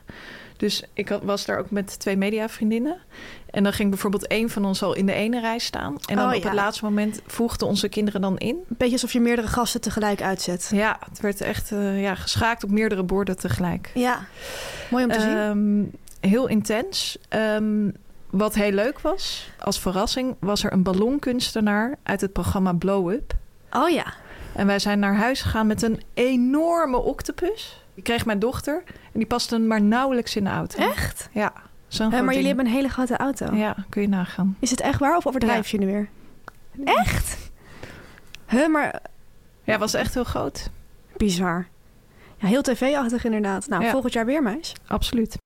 Speaker 1: Dus ik had- was daar ook met twee mediavriendinnen. En dan ging bijvoorbeeld één van ons al in de ene rij staan. En dan
Speaker 2: Oh,
Speaker 1: op
Speaker 2: ja.
Speaker 1: het laatste moment voegden onze kinderen dan in.
Speaker 2: Een beetje alsof je meerdere gasten tegelijk uitzet.
Speaker 1: Ja, het werd echt eh, ja, geschaakt op meerdere borden tegelijk.
Speaker 2: Ja. Mooi om te zien.
Speaker 1: Ehm, heel intens. Ehm, wat heel leuk was, als verrassing, was er een ballonkunstenaar uit het programma Blow Up.
Speaker 2: Oh ja.
Speaker 1: En wij zijn naar huis gegaan met een enorme octopus. Die kreeg mijn dochter. En die paste maar nauwelijks in de auto.
Speaker 2: Echt?
Speaker 1: Ja, zo'n
Speaker 2: Eh,
Speaker 1: groot
Speaker 2: maar jullie
Speaker 1: ding.
Speaker 2: hebben Oh. een hele grote auto.
Speaker 1: Ja, kun je nagaan.
Speaker 2: Is het echt waar of overdrijf je nu weer? Echt? Huh, maar
Speaker 1: Ja, was echt heel groot.
Speaker 2: bizar. Ja, heel tv-achtig inderdaad. Nou,
Speaker 1: Ja.
Speaker 2: volgend jaar weer, meis.
Speaker 1: Absoluut.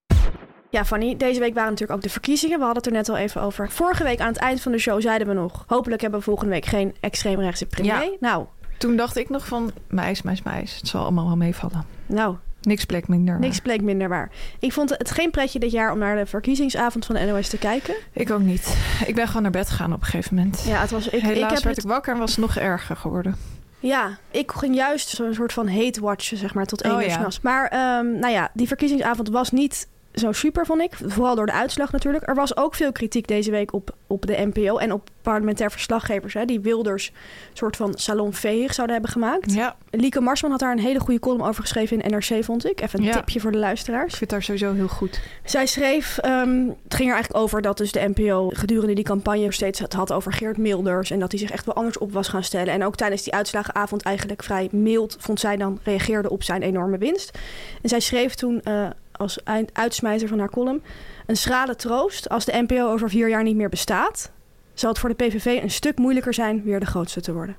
Speaker 2: Ja, Fanny, deze week waren natuurlijk ook de verkiezingen. We hadden het er net al even over. Vorige week aan het eind van de show zeiden we nog... hopelijk hebben we volgende week geen extreemrechtse premier.
Speaker 1: Ja.
Speaker 2: Nou,
Speaker 1: Toen dacht ik nog van, meis, meis, meis. Het zal allemaal wel meevallen.
Speaker 2: nou,
Speaker 1: Niks plek minder.
Speaker 2: Niks bleek minder waar. Ik vond het geen pretje dit jaar om naar de verkiezingsavond van de NOS te kijken.
Speaker 1: Ik ook niet. Ik ben gewoon naar bed gegaan op een gegeven moment.
Speaker 2: Ja, het was. Ik,
Speaker 1: Helaas
Speaker 2: ik heb
Speaker 1: werd
Speaker 2: het,
Speaker 1: ik wakker en was het nog erger geworden.
Speaker 2: Ja, ik ging juist zo'n soort van hate watchen, zeg maar, tot één
Speaker 1: Oh,
Speaker 2: uur
Speaker 1: ja.
Speaker 2: s'nachts. Maar ehm, nou ja, die verkiezingsavond was niet zo super, vond ik. Vooral door de uitslag natuurlijk. Er was ook veel kritiek deze week op, op de NPO en op parlementair verslaggevers. Hè, die Wilders soort van salonveeg zouden hebben gemaakt.
Speaker 1: Ja,
Speaker 2: Lieke Marsman had daar een hele goede column over geschreven in NRC, vond ik. Even een
Speaker 1: Ja.
Speaker 2: tipje voor de luisteraars.
Speaker 1: ik vind daar sowieso heel goed.
Speaker 2: Zij schreef, ehm, het ging er eigenlijk over dat dus de NPO gedurende die campagne steeds het had over Geert Milders. En dat hij zich echt wel anders op was gaan stellen. En ook tijdens die uitslagenavond eigenlijk vrij mild vond zij dan reageerde op zijn enorme winst. En zij schreef toen eh, als eind- uitsmijter van haar column een schrale troost als de NPO over vier jaar niet meer bestaat. Zal het voor de PVV een stuk moeilijker zijn weer de grootste te worden.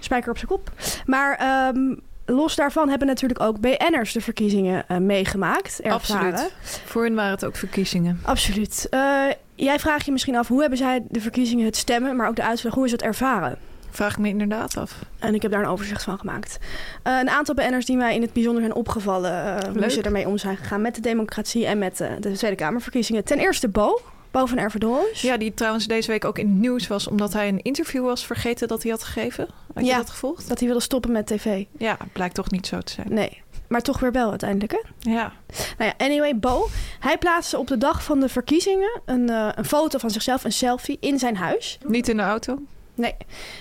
Speaker 2: Spijker op zijn kop. Maar ehm, los daarvan hebben natuurlijk ook BN'ers de verkiezingen eh, meegemaakt. Ervaren.
Speaker 1: Absoluut. Voor hen waren het ook verkiezingen.
Speaker 2: Absoluut. Eh, jij vraagt je misschien af hoe hebben zij de verkiezingen, het stemmen, maar ook de uitslag, hoe is het ervaren?
Speaker 1: Vraag ik me inderdaad af.
Speaker 2: En ik heb daar een overzicht van gemaakt. Eh, een aantal BN'ers die mij in het bijzonder zijn opgevallen, eh, hoe
Speaker 1: Leuk.
Speaker 2: ze ermee om zijn gegaan met de democratie en met eh, de Tweede Kamerverkiezingen. Ten eerste Bo, Bo van Ervedorens.
Speaker 1: Ja, die trouwens deze week ook in het nieuws was, omdat hij een interview was vergeten dat hij had gegeven. Had
Speaker 2: Ja.
Speaker 1: je dat gevolgd?
Speaker 2: Dat hij wilde stoppen met tv.
Speaker 1: Ja, blijkt toch niet zo te zijn.
Speaker 2: Nee, maar toch weer wel uiteindelijk hè?
Speaker 1: Ja,
Speaker 2: Nou ja, anyway, Bo. Hij plaatste op de dag van de verkiezingen een, eh, een foto van zichzelf, een selfie, in zijn huis.
Speaker 1: niet in de auto.
Speaker 2: Nee.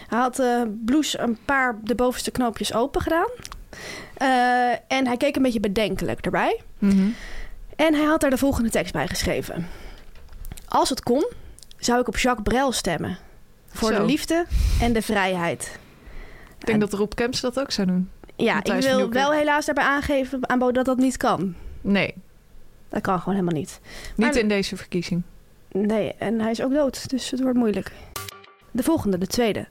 Speaker 2: Hij had eh blouse een paar de bovenste knoopjes open gedaan. Eh, en hij keek een beetje bedenkelijk erbij. En hij had daar de volgende tekst bij geschreven. Als het kon, zou ik op Jacques Brel stemmen. Voor
Speaker 1: Zo.
Speaker 2: de liefde en de vrijheid.
Speaker 1: Ik denk dat Rob Kemps dat ook zou doen.
Speaker 2: Ja,
Speaker 1: Matthijs van
Speaker 2: ik wil
Speaker 1: Nieuwkerk.
Speaker 2: wel helaas daarbij aangeven aan Bo dat dat niet kan.
Speaker 1: Nee,
Speaker 2: Dat kan gewoon helemaal niet.
Speaker 1: niet
Speaker 2: Maar-
Speaker 1: in deze verkiezing.
Speaker 2: Nee, en hij is ook dood, dus het wordt moeilijk. De volgende, de tweede,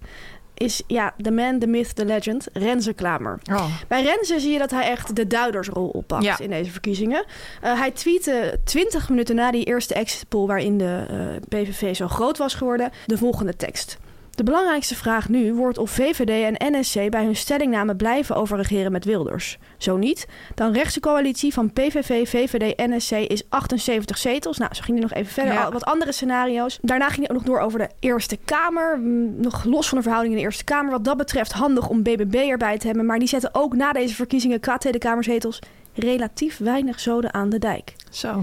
Speaker 2: is ja, de man, the myth, the legend, Renze Klamer.
Speaker 1: Oh.
Speaker 2: Bij Renze zie je dat hij echt de duidersrol oppakt
Speaker 1: Ja.
Speaker 2: in deze verkiezingen. Eh, hij tweette 20 minuten na die eerste exit poll waarin de eh, PVV zo groot was geworden, de volgende tekst. De belangrijkste vraag nu wordt of VVD en NSC bij hun stellingnamen blijven over regeren met Wilders. Zo niet, dan rechtse coalitie van PVV, VVD, NSC is 78 zetels. Nou, zo ging hij nog even verder.
Speaker 1: Ja.
Speaker 2: Al Wat andere scenario's. Daarna ging hij ook nog door over de Eerste Kamer. Mm, Nog los van de verhouding in de Eerste Kamer. Wat dat betreft handig om BBB erbij te hebben. Maar die zetten ook na deze verkiezingen qua Tweede Kamerzetels relatief weinig zoden aan de dijk.
Speaker 1: Zo.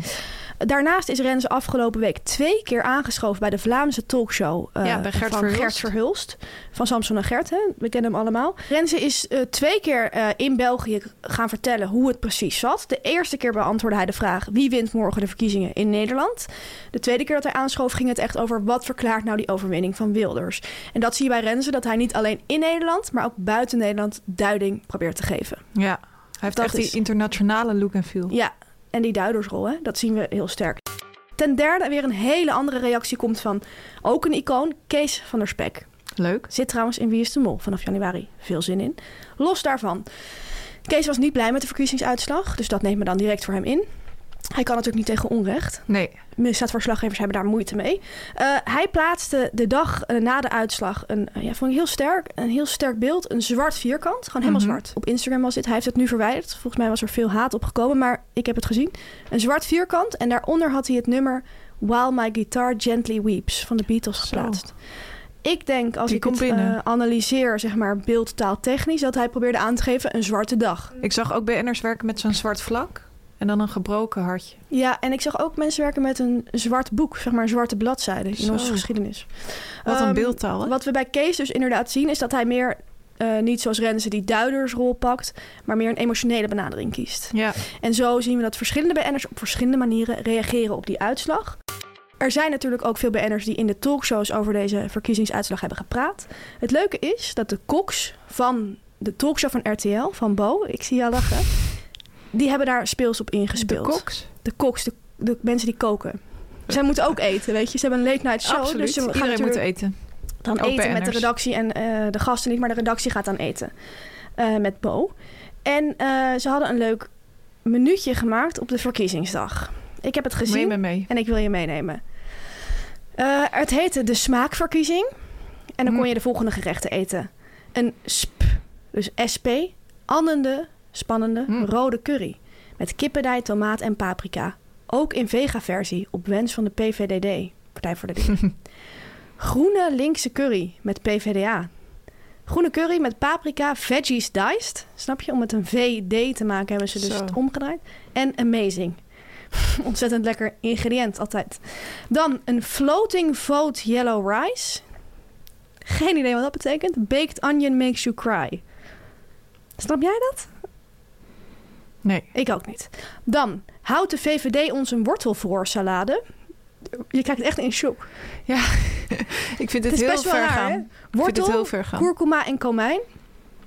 Speaker 2: Daarnaast is Rens afgelopen week twee keer aangeschoven bij de Vlaamse talkshow eh,
Speaker 1: Ja, bij Gert
Speaker 2: van
Speaker 1: Verhulst.
Speaker 2: Gert Verhulst. Van Samson en Gert, hè? we kennen hem allemaal. Rens is eh, twee keer eh, in België gaan vertellen hoe het precies zat. De eerste keer beantwoordde hij de vraag wie wint morgen de verkiezingen in Nederland. De tweede keer dat hij aanschoof ging het echt over wat verklaart nou die overwinning van Wilders. En dat zie je bij Renze dat hij niet alleen in Nederland, maar ook buiten Nederland duiding probeert te geven.
Speaker 1: Ja, hij heeft
Speaker 2: Dat
Speaker 1: echt
Speaker 2: is-
Speaker 1: die internationale look en feel.
Speaker 2: Ja, en die duidersrol, hè, dat zien we heel sterk. Ten derde weer een hele andere reactie komt van ook een icoon, Kees van der Spek.
Speaker 1: Leuk.
Speaker 2: Zit trouwens in Wie is de Mol vanaf januari. Veel zin in. Los daarvan. Kees was niet blij met de verkiezingsuitslag, dus dat neemt me dan direct voor hem in. Hij kan natuurlijk niet tegen onrecht
Speaker 1: Nee,
Speaker 2: misdaadverslaggevers hebben daar moeite mee. Eh, hij plaatste de dag eh, na de uitslag een, eh, ja, vond ik heel sterk, een heel sterk beeld, een zwart vierkant, gewoon helemaal
Speaker 1: Mhm.
Speaker 2: zwart. Op Instagram was dit, hij heeft het nu verwijderd. Volgens mij was er veel haat op gekomen, maar ik heb het gezien. Een zwart vierkant en daaronder had hij het nummer While My Guitar Gently Weeps van de Beatles
Speaker 1: Zo.
Speaker 2: geplaatst. Ik denk als
Speaker 1: Die
Speaker 2: ik
Speaker 1: komt
Speaker 2: het
Speaker 1: binnen.
Speaker 2: eh, analyseer, zeg maar beeldtaaltechnisch, dat hij probeerde aan te geven een zwarte dag.
Speaker 1: ik zag ook BN'ers werken met zo'n zwart vlak en dan een gebroken hartje.
Speaker 2: Ja, en ik zag ook mensen werken met een zwart boek, zeg maar een zwarte bladzijde in
Speaker 1: Zo.
Speaker 2: onze geschiedenis.
Speaker 1: Wat een
Speaker 2: Ehm,
Speaker 1: beeldtaal, hè?
Speaker 2: Wat we bij Kees dus inderdaad zien, is dat hij meer eh, niet zoals Renze die duidersrol pakt, maar meer een emotionele benadering kiest.
Speaker 1: Ja,
Speaker 2: En zo zien we dat verschillende BN'ers op verschillende manieren reageren op die uitslag. Er zijn natuurlijk ook veel BN'ers die in de talkshows over deze verkiezingsuitslag hebben gepraat. Het leuke is dat de koks van de talkshow van RTL, van Bo, ik zie jou lachen, die hebben daar speels op
Speaker 1: de
Speaker 2: ingespeeld.
Speaker 1: koks.
Speaker 2: De koks, de, de mensen die koken. Zij moeten ook eten, weet je. Ze hebben een late night show,
Speaker 1: Absoluut.
Speaker 2: dus ze gaan
Speaker 1: Iedereen moet
Speaker 2: natuurlijk-
Speaker 1: eten.
Speaker 2: dan
Speaker 1: Ook
Speaker 2: eten met de
Speaker 1: BN'ers.
Speaker 2: redactie en eh, de gasten niet, maar de redactie gaat dan eten eh, met Bo. En eh, ze hadden een leuk minuutje gemaakt op de verkiezingsdag. Ik heb het gezien
Speaker 1: Neem me mee.
Speaker 2: en ik wil je meenemen. Eh, het heette de smaakverkiezing. En dan kon
Speaker 1: Hm.
Speaker 2: je de volgende gerechten eten. Een sp, dus sp, annende, spannende,
Speaker 1: Hm.
Speaker 2: rode curry. Met kippendij, tomaat en paprika. Ook in vega-versie, op wens van de PVDD. Partij voor de Dieren. Groene linkse curry met PVDA. Groene curry met paprika, veggies diced. Snap je? Om het een VD te maken hebben ze dus
Speaker 1: Zo.
Speaker 2: het omgedraaid. En amazing. Ontzettend lekker ingrediënt altijd. Dan een floating vote yellow rice. Geen idee wat dat betekent. Baked onion makes you cry. Snap jij dat?
Speaker 1: Nee.
Speaker 2: Ik ook niet. Dan houdt de VVD ons een wortelvoorsalade. Je kijkt echt in shock.
Speaker 1: Ik vind dit
Speaker 2: Het is
Speaker 1: heel
Speaker 2: best wel
Speaker 1: ver
Speaker 2: raar,
Speaker 1: gaan.
Speaker 2: hè?
Speaker 1: Ik vind dit
Speaker 2: Wortel,
Speaker 1: heel ver gaan.
Speaker 2: kurkuma en komijn.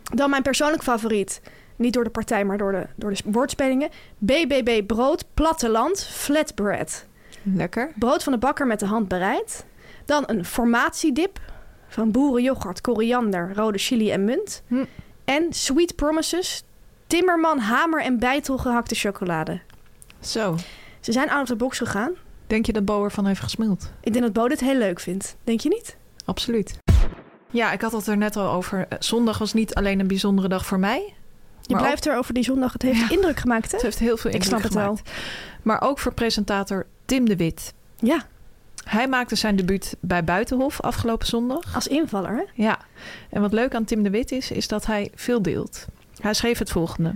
Speaker 2: Dan mijn persoonlijk favoriet. Niet door de partij, maar door de, door de woordspelingen. BBB brood, platteland, flatbread.
Speaker 1: Lekker.
Speaker 2: Brood van de bakker met de hand bereid. Dan een formatiedip van boerenyoghurt, koriander, rode chili en munt.
Speaker 1: Hm.
Speaker 2: En Sweet Promises, timmerman, hamer en bijtel gehakte chocolade.
Speaker 1: Zo.
Speaker 2: Ze zijn out of the box gegaan.
Speaker 1: Denk je dat Bo ervan heeft gesmeld?
Speaker 2: Ik denk dat Bo dit heel leuk vindt. Denk je niet?
Speaker 1: Absoluut. Ja, ik had het er net al over. Eh, Zondag was niet alleen een bijzondere dag voor mij.
Speaker 2: Je
Speaker 1: Maar ook-
Speaker 2: blijft er over die zondag. Het heeft
Speaker 1: Ja.
Speaker 2: indruk gemaakt, hè?
Speaker 1: Het heeft heel veel
Speaker 2: Ik
Speaker 1: indruk
Speaker 2: snap het wel.
Speaker 1: gemaakt. Maar ook voor presentator Tim de Wit.
Speaker 2: Ja,
Speaker 1: Hij maakte zijn debuut bij Buitenhof afgelopen zondag.
Speaker 2: als invaller, hè?
Speaker 1: Ja, en wat leuk aan Tim de Wit is, is dat hij veel deelt. Hij schreef het volgende.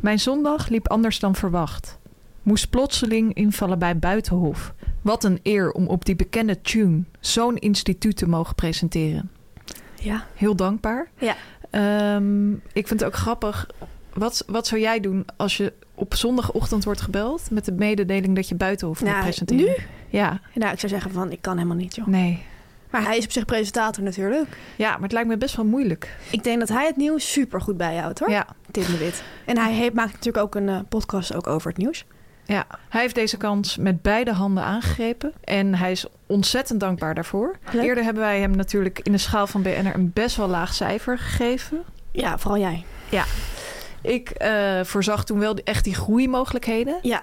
Speaker 1: Mijn zondag liep anders dan verwacht. Moest plotseling invallen bij Buitenhof. Wat een eer om op die bekende tune zo'n instituut te mogen presenteren.
Speaker 2: Ja.
Speaker 1: Heel dankbaar.
Speaker 2: Ja.
Speaker 1: Ehm, ik vind het ook grappig. Wat, wat zou jij doen als je op zondagochtend wordt gebeld met de mededeling dat je Buitenhof moet
Speaker 2: Nou,
Speaker 1: presenteren?
Speaker 2: nu?
Speaker 1: Ja,
Speaker 2: Nou, ik zou zeggen van, ik kan helemaal niet, joh.
Speaker 1: nee.
Speaker 2: Maar hij is op zich presentator natuurlijk.
Speaker 1: Ja, maar het lijkt me best wel moeilijk.
Speaker 2: Ik denk dat hij het nieuws super goed bijhoudt, hoor.
Speaker 1: Ja.
Speaker 2: Tim de Wit. En hij heeft, maakt natuurlijk ook een eh, podcast ook over het nieuws.
Speaker 1: Ja, hij heeft deze kans met beide handen aangegrepen. En hij is ontzettend dankbaar daarvoor.
Speaker 2: Leuk.
Speaker 1: Eerder hebben wij hem natuurlijk in de schaal van BNR een best wel laag cijfer gegeven.
Speaker 2: Ja, vooral jij.
Speaker 1: Ik eh, voorzag toen wel echt die groeimogelijkheden.
Speaker 2: Ja.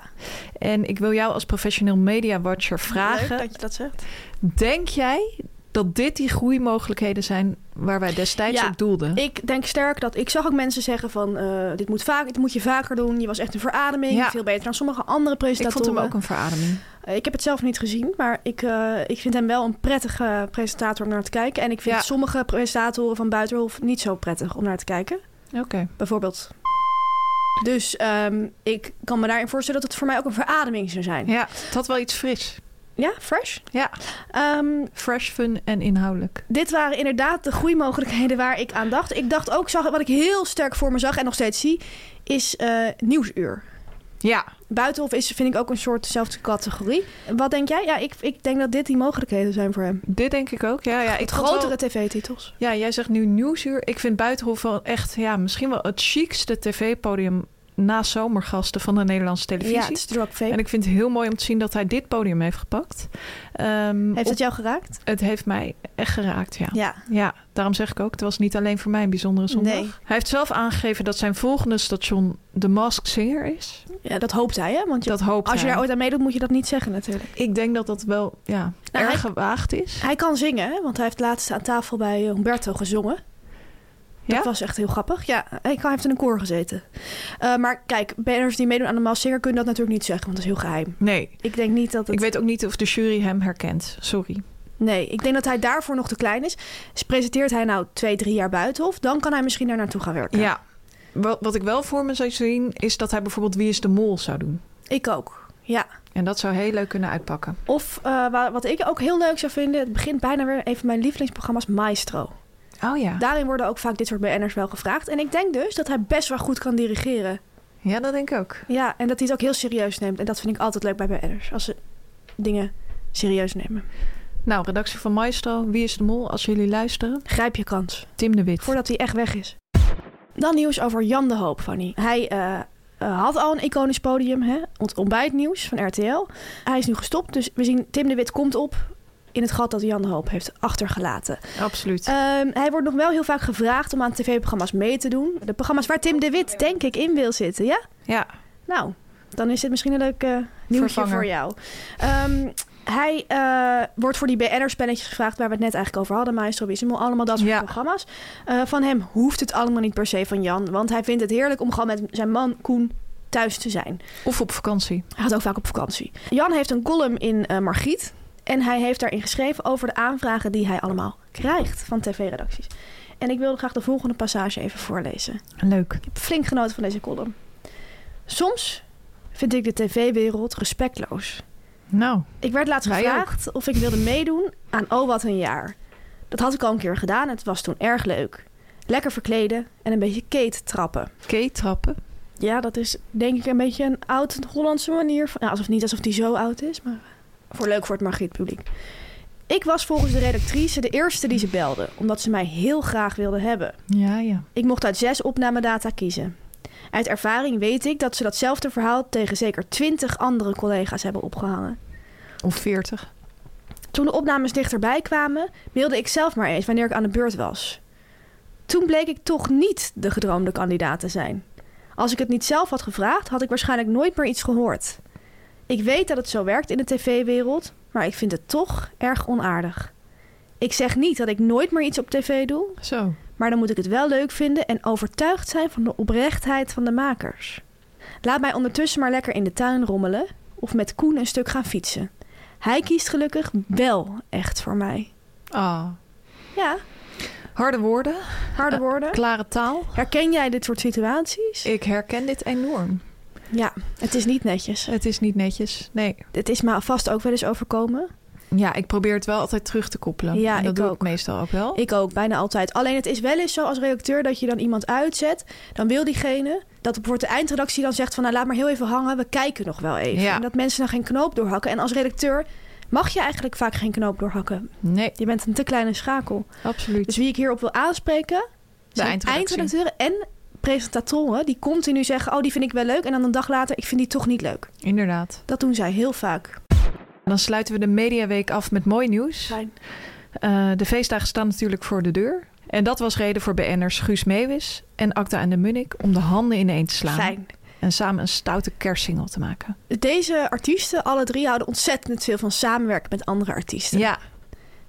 Speaker 1: En ik wil jou als professioneel media watcher vragen.
Speaker 2: Leuk dat je dat zegt.
Speaker 1: Denk jij dat dit die groeimogelijkheden zijn waar wij destijds
Speaker 2: Ja,
Speaker 1: op doelden?
Speaker 2: Ik denk sterk dat... Ik zag ook mensen zeggen van, eh, dit, moet vaak, dit moet je vaker doen. Je was echt een verademing.
Speaker 1: Ja.
Speaker 2: Veel beter dan sommige andere
Speaker 1: Ik
Speaker 2: presentatoren.
Speaker 1: vond hem ook een verademing.
Speaker 2: Eh, Ik heb het zelf niet gezien, maar ik, eh, ik vind hem wel een prettige presentator om naar te kijken. En ik vind
Speaker 1: Ja.
Speaker 2: sommige presentatoren van Buitenhof niet zo prettig om naar te kijken.
Speaker 1: Oké.
Speaker 2: Bijvoorbeeld. Dus ehm, ik kan me daarin voorstellen dat het voor mij ook een verademing zou zijn. Ja,
Speaker 1: Ja, het had wel iets fris.
Speaker 2: fresh.
Speaker 1: Ja,
Speaker 2: Ehm,
Speaker 1: fresh, fun en inhoudelijk.
Speaker 2: dit waren inderdaad de groeimogelijkheden waar ik aan dacht. Ik dacht ook, zag, wat ik heel sterk voor me zag en nog steeds zie, is eh, nieuwsuur.
Speaker 1: Ja,
Speaker 2: Buitenhof is, vind ik, ook een soort dezelfde categorie. Wat denk jij? Ja, ik, ik denk dat dit die mogelijkheden zijn voor hem.
Speaker 1: dit denk ik ook. Ja, ja, ik vond wel-
Speaker 2: Grotere tv-titels.
Speaker 1: Ja, jij zegt nu nieuwsuur. Ik vind Buitenhof wel echt, ja, misschien wel het chicste tv-podium na zomergasten van de Nederlandse televisie.
Speaker 2: Ja, het is drop
Speaker 1: en ik vind het heel mooi om te zien dat hij dit podium heeft gepakt. Ehm,
Speaker 2: Heeft
Speaker 1: op-
Speaker 2: het jou geraakt?
Speaker 1: het heeft mij echt geraakt, ja. ja.
Speaker 2: Ja.
Speaker 1: daarom zeg ik ook, het was niet alleen voor mij een bijzondere zondag.
Speaker 2: Nee.
Speaker 1: Hij heeft zelf aangegeven dat zijn volgende station The Masked Singer is.
Speaker 2: ja, dat hoopt hij, hè? Want je,
Speaker 1: Dat hoopt
Speaker 2: als je
Speaker 1: hij.
Speaker 2: daar ooit aan meedoet, moet je dat niet zeggen natuurlijk.
Speaker 1: Ik denk dat dat wel ja,
Speaker 2: Nou,
Speaker 1: erg
Speaker 2: hij-
Speaker 1: gewaagd is.
Speaker 2: Hij kan zingen, hè? Want hij heeft laatst aan tafel bij eh, Humberto gezongen.
Speaker 1: ja?
Speaker 2: Dat was echt heel grappig. Ja, hij kan- hij heeft in een koor gezeten. Eh, maar kijk, banners die meedoen aan de Maas Singer kunnen dat natuurlijk niet zeggen, want dat is heel geheim.
Speaker 1: Nee,
Speaker 2: Ik denk niet dat het...
Speaker 1: ik weet ook niet of de jury hem herkent. Sorry.
Speaker 2: Nee, ik denk dat hij daarvoor nog te klein is. Dus presenteert hij nou twee, drie jaar buitenhof, dan kan hij misschien daar naartoe gaan werken.
Speaker 1: Ja. Wat, wat ik wel voor me zou zien, is dat hij bijvoorbeeld Wie is de Mol zou doen.
Speaker 2: Ik ook. Ja.
Speaker 1: En dat zou heel leuk kunnen uitpakken.
Speaker 2: Of eh, wa- wat ik ook heel leuk zou vinden, het begint bijna weer een van mijn lievelingsprogramma's, Maestro.
Speaker 1: Oh ja.
Speaker 2: Daarin worden ook vaak dit soort BN'ers wel gevraagd. En ik denk dus dat hij best wel goed kan dirigeren.
Speaker 1: ja, dat denk ik ook.
Speaker 2: Ja, en dat hij het ook heel serieus neemt. En dat vind ik altijd leuk bij BN'ers. Als ze dingen serieus nemen.
Speaker 1: Nou, redactie van Maestro, Wie is de Mol, als jullie luisteren.
Speaker 2: Grijp je kans.
Speaker 1: Tim de Wit.
Speaker 2: Voordat hij echt weg is. Dan nieuws over Jan de Hoop, Fanny. Hij eh, eh, had al een iconisch podium. Hè? Het ontbijtnieuws van RTL. Hij is nu gestopt. Dus we zien Tim de Wit komt op in het gat dat Jan de Hoop heeft achtergelaten.
Speaker 1: Absoluut.
Speaker 2: Ehm, hij wordt nog wel heel vaak gevraagd om aan tv-programma's mee te doen. De programma's waar Tim de Wit denk ik in wil zitten, ja?
Speaker 1: ja.
Speaker 2: Nou, dan is dit misschien een leuk eh, nieuwtje
Speaker 1: Vervanger.
Speaker 2: voor jou. Ehm, hij eh, wordt voor die BN'er-spelletjes gevraagd... waar we het net eigenlijk over hadden. Maestro Wissimo, allemaal dat soort
Speaker 1: Ja.
Speaker 2: programma's. Eh, van hem hoeft het allemaal niet per se van Jan. Want hij vindt het heerlijk om gewoon met zijn man Koen thuis te zijn.
Speaker 1: Of op vakantie.
Speaker 2: Hij gaat ook vaak op vakantie. Jan heeft een column in eh Margriet. En hij heeft daarin geschreven over de aanvragen die hij allemaal krijgt van tv-redacties. En ik wilde graag de volgende passage even voorlezen.
Speaker 1: Leuk.
Speaker 2: Ik heb flink genoten van deze column. Soms vind ik de tv-wereld respectloos.
Speaker 1: Nou,
Speaker 2: Ik werd laatst
Speaker 1: Wij
Speaker 2: gevraagd of ik wilde meedoen aan Oh Wat Een Jaar. Dat had ik al een keer gedaan en het was toen erg leuk. Lekker verkleden en een beetje keet trappen.
Speaker 1: K-trappen.
Speaker 2: Ja, dat is denk ik een beetje een oud-Hollandse manier. Van, nou, alsof niet alsof die zo oud is, maar voor leuk voor het Margriet publiek. Ik was volgens de redactrice de eerste die ze belde, omdat ze mij heel graag wilde hebben.
Speaker 1: Ja, ja.
Speaker 2: Ik mocht uit zes opnamedata kiezen. Uit ervaring weet ik dat ze datzelfde verhaal tegen zeker twintig andere collega's hebben opgehangen.
Speaker 1: Of 40.
Speaker 2: Toen de opnames dichterbij kwamen, mailde ik zelf maar eens wanneer ik aan de beurt was. Toen bleek ik toch niet de gedroomde kandidaat te zijn. Als ik het niet zelf had gevraagd, had ik waarschijnlijk nooit meer iets gehoord. Ik weet dat het zo werkt in de tv-wereld, maar ik vind het toch erg onaardig. Ik zeg niet dat ik nooit meer iets op tv doe,
Speaker 1: Zo.
Speaker 2: maar dan moet ik het wel leuk vinden en overtuigd zijn van de oprechtheid van de makers. Laat mij ondertussen maar lekker in de tuin rommelen of met Koen een stuk gaan fietsen. Hij kiest gelukkig wel echt voor mij.
Speaker 1: Ah.
Speaker 2: Ja,
Speaker 1: Harde woorden,
Speaker 2: harde woorden.
Speaker 1: klare taal.
Speaker 2: Herken jij dit soort situaties?
Speaker 1: Ik herken dit enorm.
Speaker 2: Ja, het is niet netjes.
Speaker 1: Het is niet netjes. Nee.
Speaker 2: Het is me vast ook wel eens overkomen.
Speaker 1: Ja, ik probeer het wel altijd terug te koppelen.
Speaker 2: Ja,
Speaker 1: En dat
Speaker 2: ik
Speaker 1: doe
Speaker 2: ook.
Speaker 1: ik meestal ook wel.
Speaker 2: Ik ook, bijna altijd. Alleen het is wel eens zo als redacteur dat je dan iemand uitzet. Dan wil diegene dat bijvoorbeeld de eindredactie dan zegt van... nou laat maar heel even hangen, we kijken nog wel even.
Speaker 1: Ja.
Speaker 2: En dat mensen dan geen knoop doorhakken. En als redacteur mag je eigenlijk vaak geen knoop doorhakken.
Speaker 1: Nee,
Speaker 2: Je bent een te kleine schakel.
Speaker 1: absoluut.
Speaker 2: Dus wie ik hierop wil aanspreken... zijn
Speaker 1: eindredactie.
Speaker 2: eindredacteuren en presentatoren die continu zeggen... oh, die vind ik wel leuk. En dan een dag later, ik vind die toch niet leuk.
Speaker 1: Inderdaad.
Speaker 2: Dat doen zij heel vaak.
Speaker 1: Dan sluiten we de Mediaweek af met mooi nieuws. Eh, de feestdagen staan natuurlijk voor de deur. En dat was reden voor BN'ers Guus Meeuwis en Acta en de Munnik om de handen ineen te slaan.
Speaker 2: Fijn.
Speaker 1: En samen een stoute kerstsingel te maken.
Speaker 2: Deze artiesten, alle drie, houden ontzettend veel van samenwerken met andere artiesten.
Speaker 1: Ja,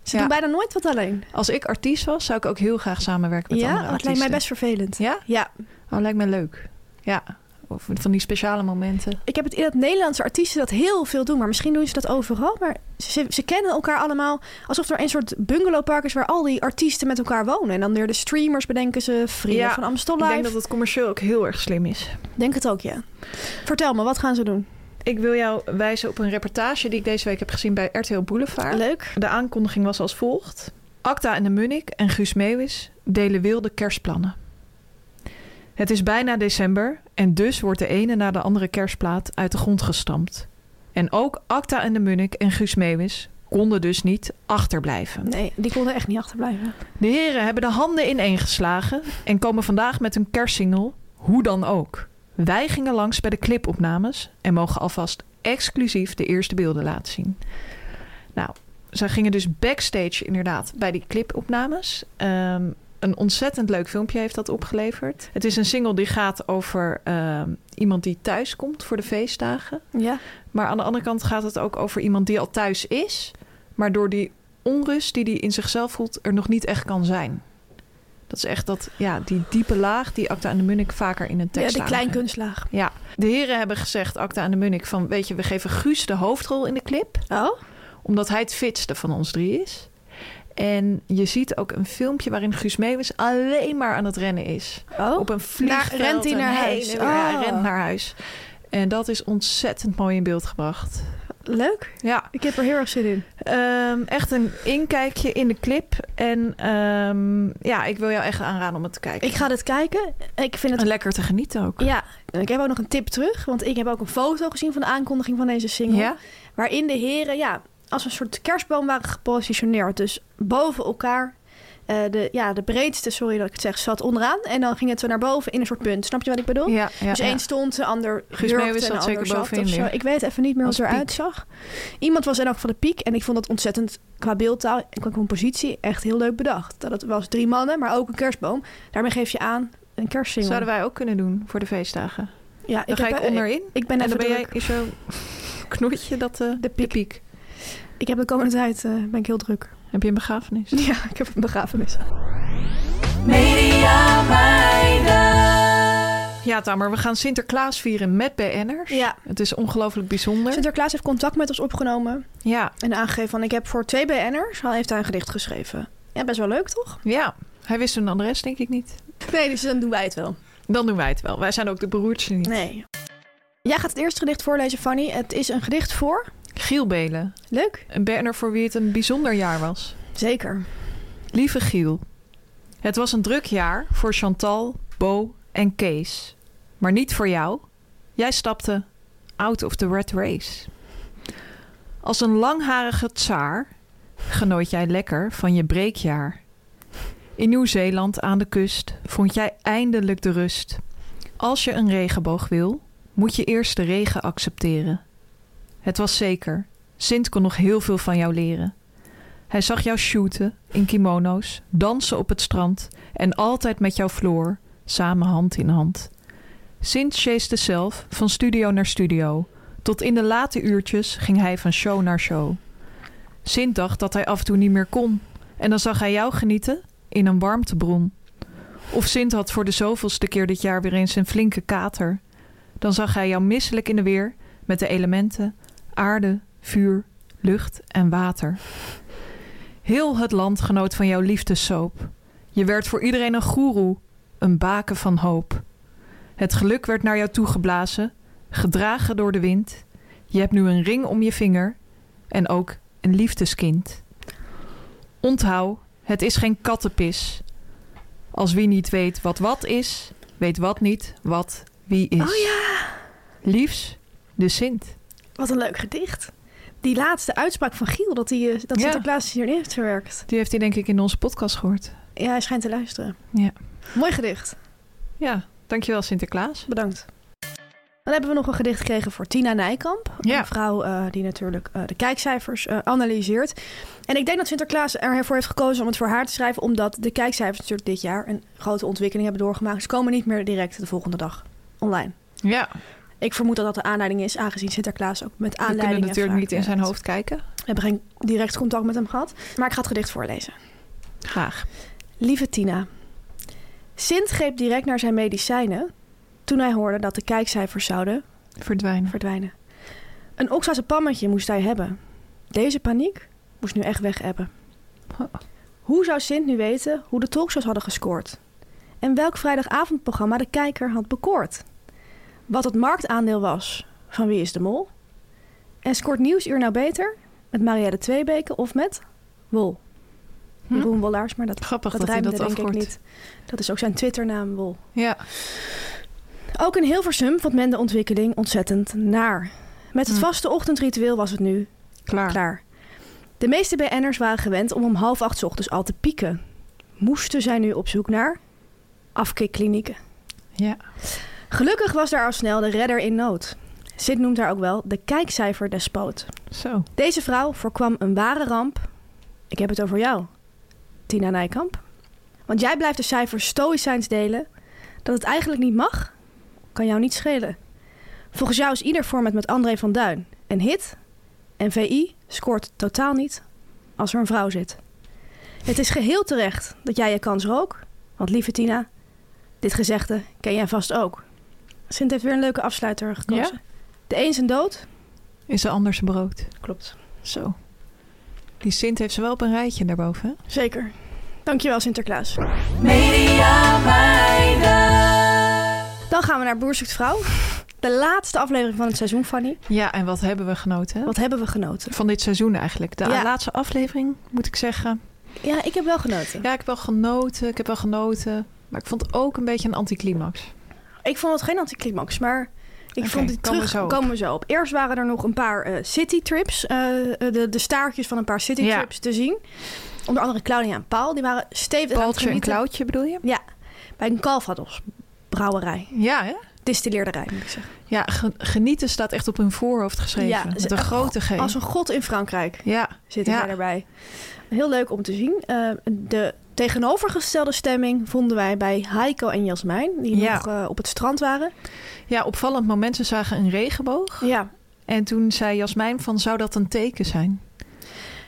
Speaker 2: Ze
Speaker 1: Ja.
Speaker 2: doen bijna nooit wat alleen.
Speaker 1: als ik artiest was, zou ik ook heel graag samenwerken met
Speaker 2: ja,
Speaker 1: andere
Speaker 2: dat
Speaker 1: artiesten.
Speaker 2: lijkt mij best vervelend.
Speaker 1: Ja?
Speaker 2: Ja,
Speaker 1: Oh, lijkt mij leuk. Ja, of van die speciale momenten.
Speaker 2: ik heb het in dat Nederlandse artiesten dat heel veel doen, maar misschien doen ze dat overal. Maar ze, ze kennen elkaar allemaal alsof er een soort bungalowpark is waar al die artiesten met elkaar wonen. En dan weer de streamers bedenken ze, vrienden
Speaker 1: Ja,
Speaker 2: van Amstel Live. Denk,
Speaker 1: het commercieel ook heel erg slim is.
Speaker 2: het ook, ja. Vertel me, wat gaan ze doen?
Speaker 1: Ik wil jou wijzen op een reportage die ik deze week heb gezien bij RTL Boulevard.
Speaker 2: Leuk.
Speaker 1: De aankondiging was als volgt. Acta en de Munnik en Guus Meeuwis delen wilde kerstplannen. Het is bijna december en dus wordt de ene na de andere kerstplaat uit de grond gestampt. En ook Acta en de Munnik en Guus Meeuwis konden dus niet achterblijven.
Speaker 2: Nee, die konden echt niet achterblijven.
Speaker 1: De heren hebben de handen ineengeslagen en komen vandaag met hun kerstsingle Hoe dan ook. Wij gingen langs bij de clipopnames en mogen alvast exclusief de eerste beelden laten zien. Nou, zij gingen dus backstage inderdaad bij die clipopnames. Ehm, een ontzettend leuk filmpje heeft dat opgeleverd. Het is een single die gaat over ehm, iemand die thuis komt voor de feestdagen.
Speaker 2: Ja.
Speaker 1: Maar aan de andere kant gaat het ook over iemand die al thuis is, maar door die onrust die hij in zichzelf voelt, er nog niet echt kan zijn. Dat is echt dat, ja, die diepe laag die Acta en de Munnik vaker in een
Speaker 2: ja,
Speaker 1: tekst
Speaker 2: de
Speaker 1: aanbrengt.
Speaker 2: kleinkunstlaag.
Speaker 1: Ja, de heren hebben gezegd, Acta en de Munnik, van weet je, we geven Guus de hoofdrol in de clip,
Speaker 2: Oh?
Speaker 1: omdat hij het fitste van ons drie is. En je ziet ook een filmpje waarin Guus Meeuwis alleen maar aan het rennen is.
Speaker 2: oh?
Speaker 1: Op een vliegveld.
Speaker 2: Naar- rent hij
Speaker 1: en
Speaker 2: naar
Speaker 1: heen en
Speaker 2: huis?
Speaker 1: weer. Ja, hij
Speaker 2: Oh.
Speaker 1: rent naar huis. En dat is ontzettend mooi in beeld gebracht.
Speaker 2: Leuk.
Speaker 1: Ja,
Speaker 2: Ik heb er heel erg zin in.
Speaker 1: ehm, echt een inkijkje in de clip. En ehm, ja, ik wil jou echt aanraden om het te kijken.
Speaker 2: Ik ga dit kijken. Ik vind het
Speaker 1: En lekker te genieten ook.
Speaker 2: Ja, en ik heb ook nog een tip terug. Want ik heb ook een foto gezien van de aankondiging van deze single.
Speaker 1: Ja?
Speaker 2: Waarin de heren ja, als een soort kerstboom waren gepositioneerd. Dus boven elkaar. eh, de, ja, de breedste, sorry dat ik het zeg, zat onderaan. En dan ging het zo naar boven in een soort punt. Snap je wat ik bedoel?
Speaker 1: Ja, ja,
Speaker 2: dus
Speaker 1: ja.
Speaker 2: één stond, de ander
Speaker 1: Guus
Speaker 2: jurkte
Speaker 1: Meeuwis
Speaker 2: en de
Speaker 1: zat
Speaker 2: ander
Speaker 1: zeker
Speaker 2: zat
Speaker 1: bovenin
Speaker 2: of zo.
Speaker 1: weer.
Speaker 2: Ik weet even niet meer hoe
Speaker 1: Als
Speaker 2: het eruit
Speaker 1: piek.
Speaker 2: zag. Iemand was in elk geval de piek. En ik vond dat ontzettend qua beeldtaal en qua compositie echt heel leuk bedacht. Dat het was drie mannen, maar ook een kerstboom. Daarmee geef je aan een kerstsingle.
Speaker 1: Zouden wij ook kunnen doen voor de feestdagen.
Speaker 2: ja,
Speaker 1: Dan ga
Speaker 2: heb-
Speaker 1: ik onderin.
Speaker 2: Ik ben
Speaker 1: en
Speaker 2: even
Speaker 1: dan ben jij
Speaker 2: druk.
Speaker 1: in zo'n knoetje dat eh,
Speaker 2: De piek. Ik heb de komende tijd eh, ben ik heel druk.
Speaker 1: Heb je een begrafenis?
Speaker 2: Ja, ik heb een begrafenis.
Speaker 3: Media meiden.
Speaker 1: Ja, Tamer, we gaan Sinterklaas vieren met BN'ers.
Speaker 2: Ja.
Speaker 1: Het is ongelooflijk bijzonder.
Speaker 2: Sinterklaas heeft contact met ons opgenomen
Speaker 1: Ja,
Speaker 2: en aangegeven van ik heb voor twee BN'ers, hij heeft hij een gedicht geschreven. Ja, best wel leuk toch?
Speaker 1: ja. Hij wist hun adres, denk ik niet.
Speaker 2: Nee, dus dan doen wij het wel.
Speaker 1: Dan doen wij het wel. Wij zijn ook de beroerdste niet.
Speaker 2: Nee. Jij gaat het eerste gedicht voorlezen, Fanny. Het is een gedicht voor...
Speaker 1: Giel Belen.
Speaker 2: Leuk.
Speaker 1: Een banner voor wie het een bijzonder jaar was.
Speaker 2: Zeker.
Speaker 1: Lieve Giel. Het was een druk jaar voor Chantal, Bo en Kees. Maar niet voor jou. Jij stapte out of the red race. Als een langharige tsaar genoot jij lekker van je breekjaar. In Nieuw-Zeeland aan de kust vond jij eindelijk de rust. Als je een regenboog wil, moet je eerst de regen accepteren. Het was zeker. Sint kon nog heel veel van jou leren. Hij zag jou shooten in kimono's, dansen op het strand en altijd met jouw Floor, samen hand in hand. Sint chaste zelf van studio naar studio. Tot in de late uurtjes ging hij van show naar show. Sint dacht dat hij af en toe niet meer kon. En dan zag hij jou genieten in een warmtebron. Of Sint had voor de zoveelste keer dit jaar weer eens een flinke kater. Dan zag hij jou misselijk in de weer met de elementen aarde, vuur, lucht en water. Heel het land genoot van jouw liefdessoap. Je werd voor iedereen een goeroe, een baken van hoop. Het geluk werd naar jou toegeblazen, gedragen door de wind. Je hebt nu een ring om je vinger en ook een liefdeskind. Onthoud, het is geen kattenpis. Als wie niet weet wat wat is, weet wat niet wat wie is.
Speaker 2: Oh ja,
Speaker 1: Liefs, de Sint.
Speaker 2: wat een leuk gedicht. Die laatste uitspraak van Giel, dat, hij, eh, dat
Speaker 1: Ja.
Speaker 2: Sinterklaas hierin heeft verwerkt.
Speaker 1: Die heeft hij denk ik in onze podcast gehoord.
Speaker 2: Ja, hij schijnt te luisteren.
Speaker 1: Ja.
Speaker 2: Mooi gedicht.
Speaker 1: Ja, dankjewel Sinterklaas.
Speaker 2: Bedankt. Dan hebben we nog een gedicht gekregen voor Tina Nijkamp. Een
Speaker 1: Ja.
Speaker 2: vrouw eh, die natuurlijk eh, de kijkcijfers eh, analyseert. En ik denk dat Sinterklaas ervoor heeft gekozen om het voor haar te schrijven... omdat de kijkcijfers natuurlijk dit jaar een grote ontwikkeling hebben doorgemaakt. Ze komen niet meer direct de volgende dag online.
Speaker 1: Ja,
Speaker 2: Ik vermoed dat dat de aanleiding is, aangezien Sinterklaas ook met
Speaker 1: we
Speaker 2: aanleidingen...
Speaker 1: kunnen natuurlijk
Speaker 2: vaak
Speaker 1: niet in zijn
Speaker 2: werkt.
Speaker 1: hoofd kijken.
Speaker 2: We hebben geen direct contact met hem gehad. Maar ik ga het gedicht voorlezen.
Speaker 1: Graag.
Speaker 2: Lieve Tina. Sint greep direct naar zijn medicijnen... toen hij hoorde dat de kijkcijfers zouden
Speaker 1: Verdwijnen.
Speaker 2: verdwijnen. Een Oxa's pammetje moest hij hebben. Deze paniek moest nu echt weg ebben. Hoe zou Sint nu weten hoe de talkshows hadden gescoord? En welk vrijdagavondprogramma de kijker had bekoord? Wat het marktaandeel was van Wie is de Mol? En scoort Nieuwsuur nou beter met Marielle Tweebeke of met Wol?
Speaker 1: Hm.
Speaker 2: Jeroen Wollaars, maar dat,
Speaker 1: Grappig
Speaker 2: dat
Speaker 1: dat hij
Speaker 2: rijmde
Speaker 1: dat
Speaker 2: denk
Speaker 1: afkort.
Speaker 2: ik niet. Dat is ook zijn Twitternaam, Wol.
Speaker 1: Ja.
Speaker 2: Ook in Hilversum vond men de ontwikkeling ontzettend naar. Met het
Speaker 1: Hm.
Speaker 2: vaste ochtendritueel was het nu
Speaker 1: Klaar.
Speaker 2: klaar. De meeste BN'ers waren gewend om om half acht 's ochtends al te pieken. Moesten zij nu op zoek naar afkikklinieken.
Speaker 1: Ja.
Speaker 2: Gelukkig was daar al snel de redder in nood. Sid noemt haar ook wel de kijkcijferdespoot.
Speaker 1: Zo.
Speaker 2: Deze vrouw voorkwam een ware ramp. Ik heb het over jou, Tina Nijkamp. Want jij blijft de cijfers stoïcijns delen. Dat het eigenlijk niet mag, kan jou niet schelen. Volgens jou is ieder format met André van Duin een hit. En VI scoort totaal niet als er een vrouw zit. Het is geheel terecht dat jij je kans rook. Want lieve Tina, dit gezegde ken jij vast ook. Sint heeft weer een leuke afsluiter gekozen. De een zijn dood.
Speaker 1: Is er anders brood?
Speaker 2: Klopt.
Speaker 1: Zo. Die Sint heeft ze wel op een rijtje daarboven. hè?
Speaker 2: Zeker. Dankjewel Sinterklaas.
Speaker 3: Media meiden.
Speaker 2: Dan gaan we naar Boer zoekt vrouw. De laatste aflevering van het seizoen, Fanny.
Speaker 1: Ja, en wat hebben we genoten? hè?
Speaker 2: Wat hebben we genoten?
Speaker 1: Van dit seizoen eigenlijk. De
Speaker 2: Ja.
Speaker 1: laatste aflevering, moet ik zeggen.
Speaker 2: Ja, ik heb wel genoten.
Speaker 1: Ja, ik heb wel genoten. Ik heb wel genoten. Maar ik vond het ook een beetje een anticlimax.
Speaker 2: Ik vond het geen anticlimax, maar ik
Speaker 1: Oké,
Speaker 2: vond het
Speaker 1: komen we
Speaker 2: terug.
Speaker 1: zo op.
Speaker 2: komen we zo op. Eerst waren er nog een paar eh, citytrips. eh, eh, de, de staartjes van een paar citytrips trips te zien. Onder andere Claudia en Paul. Die waren stevig aan het
Speaker 1: Paltje en
Speaker 2: genieten
Speaker 1: klauwtje bedoel je?
Speaker 2: bij een Calvados brouwerij.
Speaker 1: Ja, hè?
Speaker 2: Distilleerderij, moet ik zeggen.
Speaker 1: Ja, ge- genieten staat echt op hun voorhoofd geschreven.
Speaker 2: Ja,
Speaker 1: met
Speaker 2: ze- oh,
Speaker 1: een grote G.
Speaker 2: Als een god in Frankrijk.
Speaker 1: Ja,
Speaker 2: zitten
Speaker 1: Ja.
Speaker 2: wij daarbij. Heel leuk om te zien. Eh, de tegenovergestelde stemming vonden wij bij Heiko en Jasmijn, die
Speaker 1: Ja.
Speaker 2: nog eh, op het strand waren.
Speaker 1: ja, opvallend moment. Ze zagen een regenboog.
Speaker 2: Ja,
Speaker 1: En toen zei Jasmijn van, zou dat een teken zijn?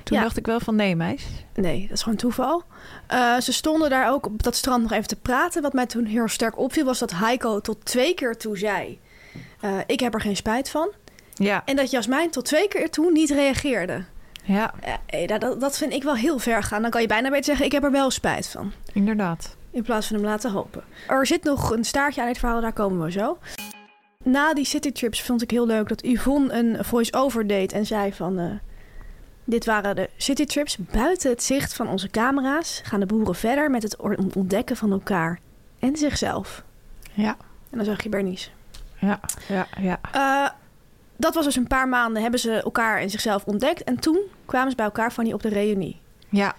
Speaker 1: Toen
Speaker 2: Ja.
Speaker 1: dacht ik wel van, nee meis.
Speaker 2: nee, dat is gewoon toeval. Eh, ze stonden daar ook op dat strand nog even te praten. Wat mij toen heel sterk opviel, was dat Heiko tot twee keer toe zei: eh, Ik heb er geen spijt van.
Speaker 1: Ja,
Speaker 2: En dat Jasmijn tot twee keer toe niet reageerde.
Speaker 1: Ja,
Speaker 2: Ja, eh, dat- dat, dat vind ik wel heel ver gaan. Dan kan je bijna beter zeggen, ik heb er wel spijt van.
Speaker 1: inderdaad.
Speaker 2: In plaats van hem laten hopen. Er zit nog een staartje aan dit verhaal, daar komen we zo. Na die citytrips vond ik heel leuk dat Yvonne een voice-over deed en zei van... eh, dit waren de citytrips. Buiten het zicht van onze camera's gaan de boeren verder met het or- ontdekken van elkaar en zichzelf.
Speaker 1: Ja,
Speaker 2: En dan zag je Bernice.
Speaker 1: ja, ja, ja.
Speaker 2: Eh, dat was dus een paar maanden hebben ze elkaar en zichzelf ontdekt. En toen kwamen ze bij elkaar van die op de reunie.
Speaker 1: Ja,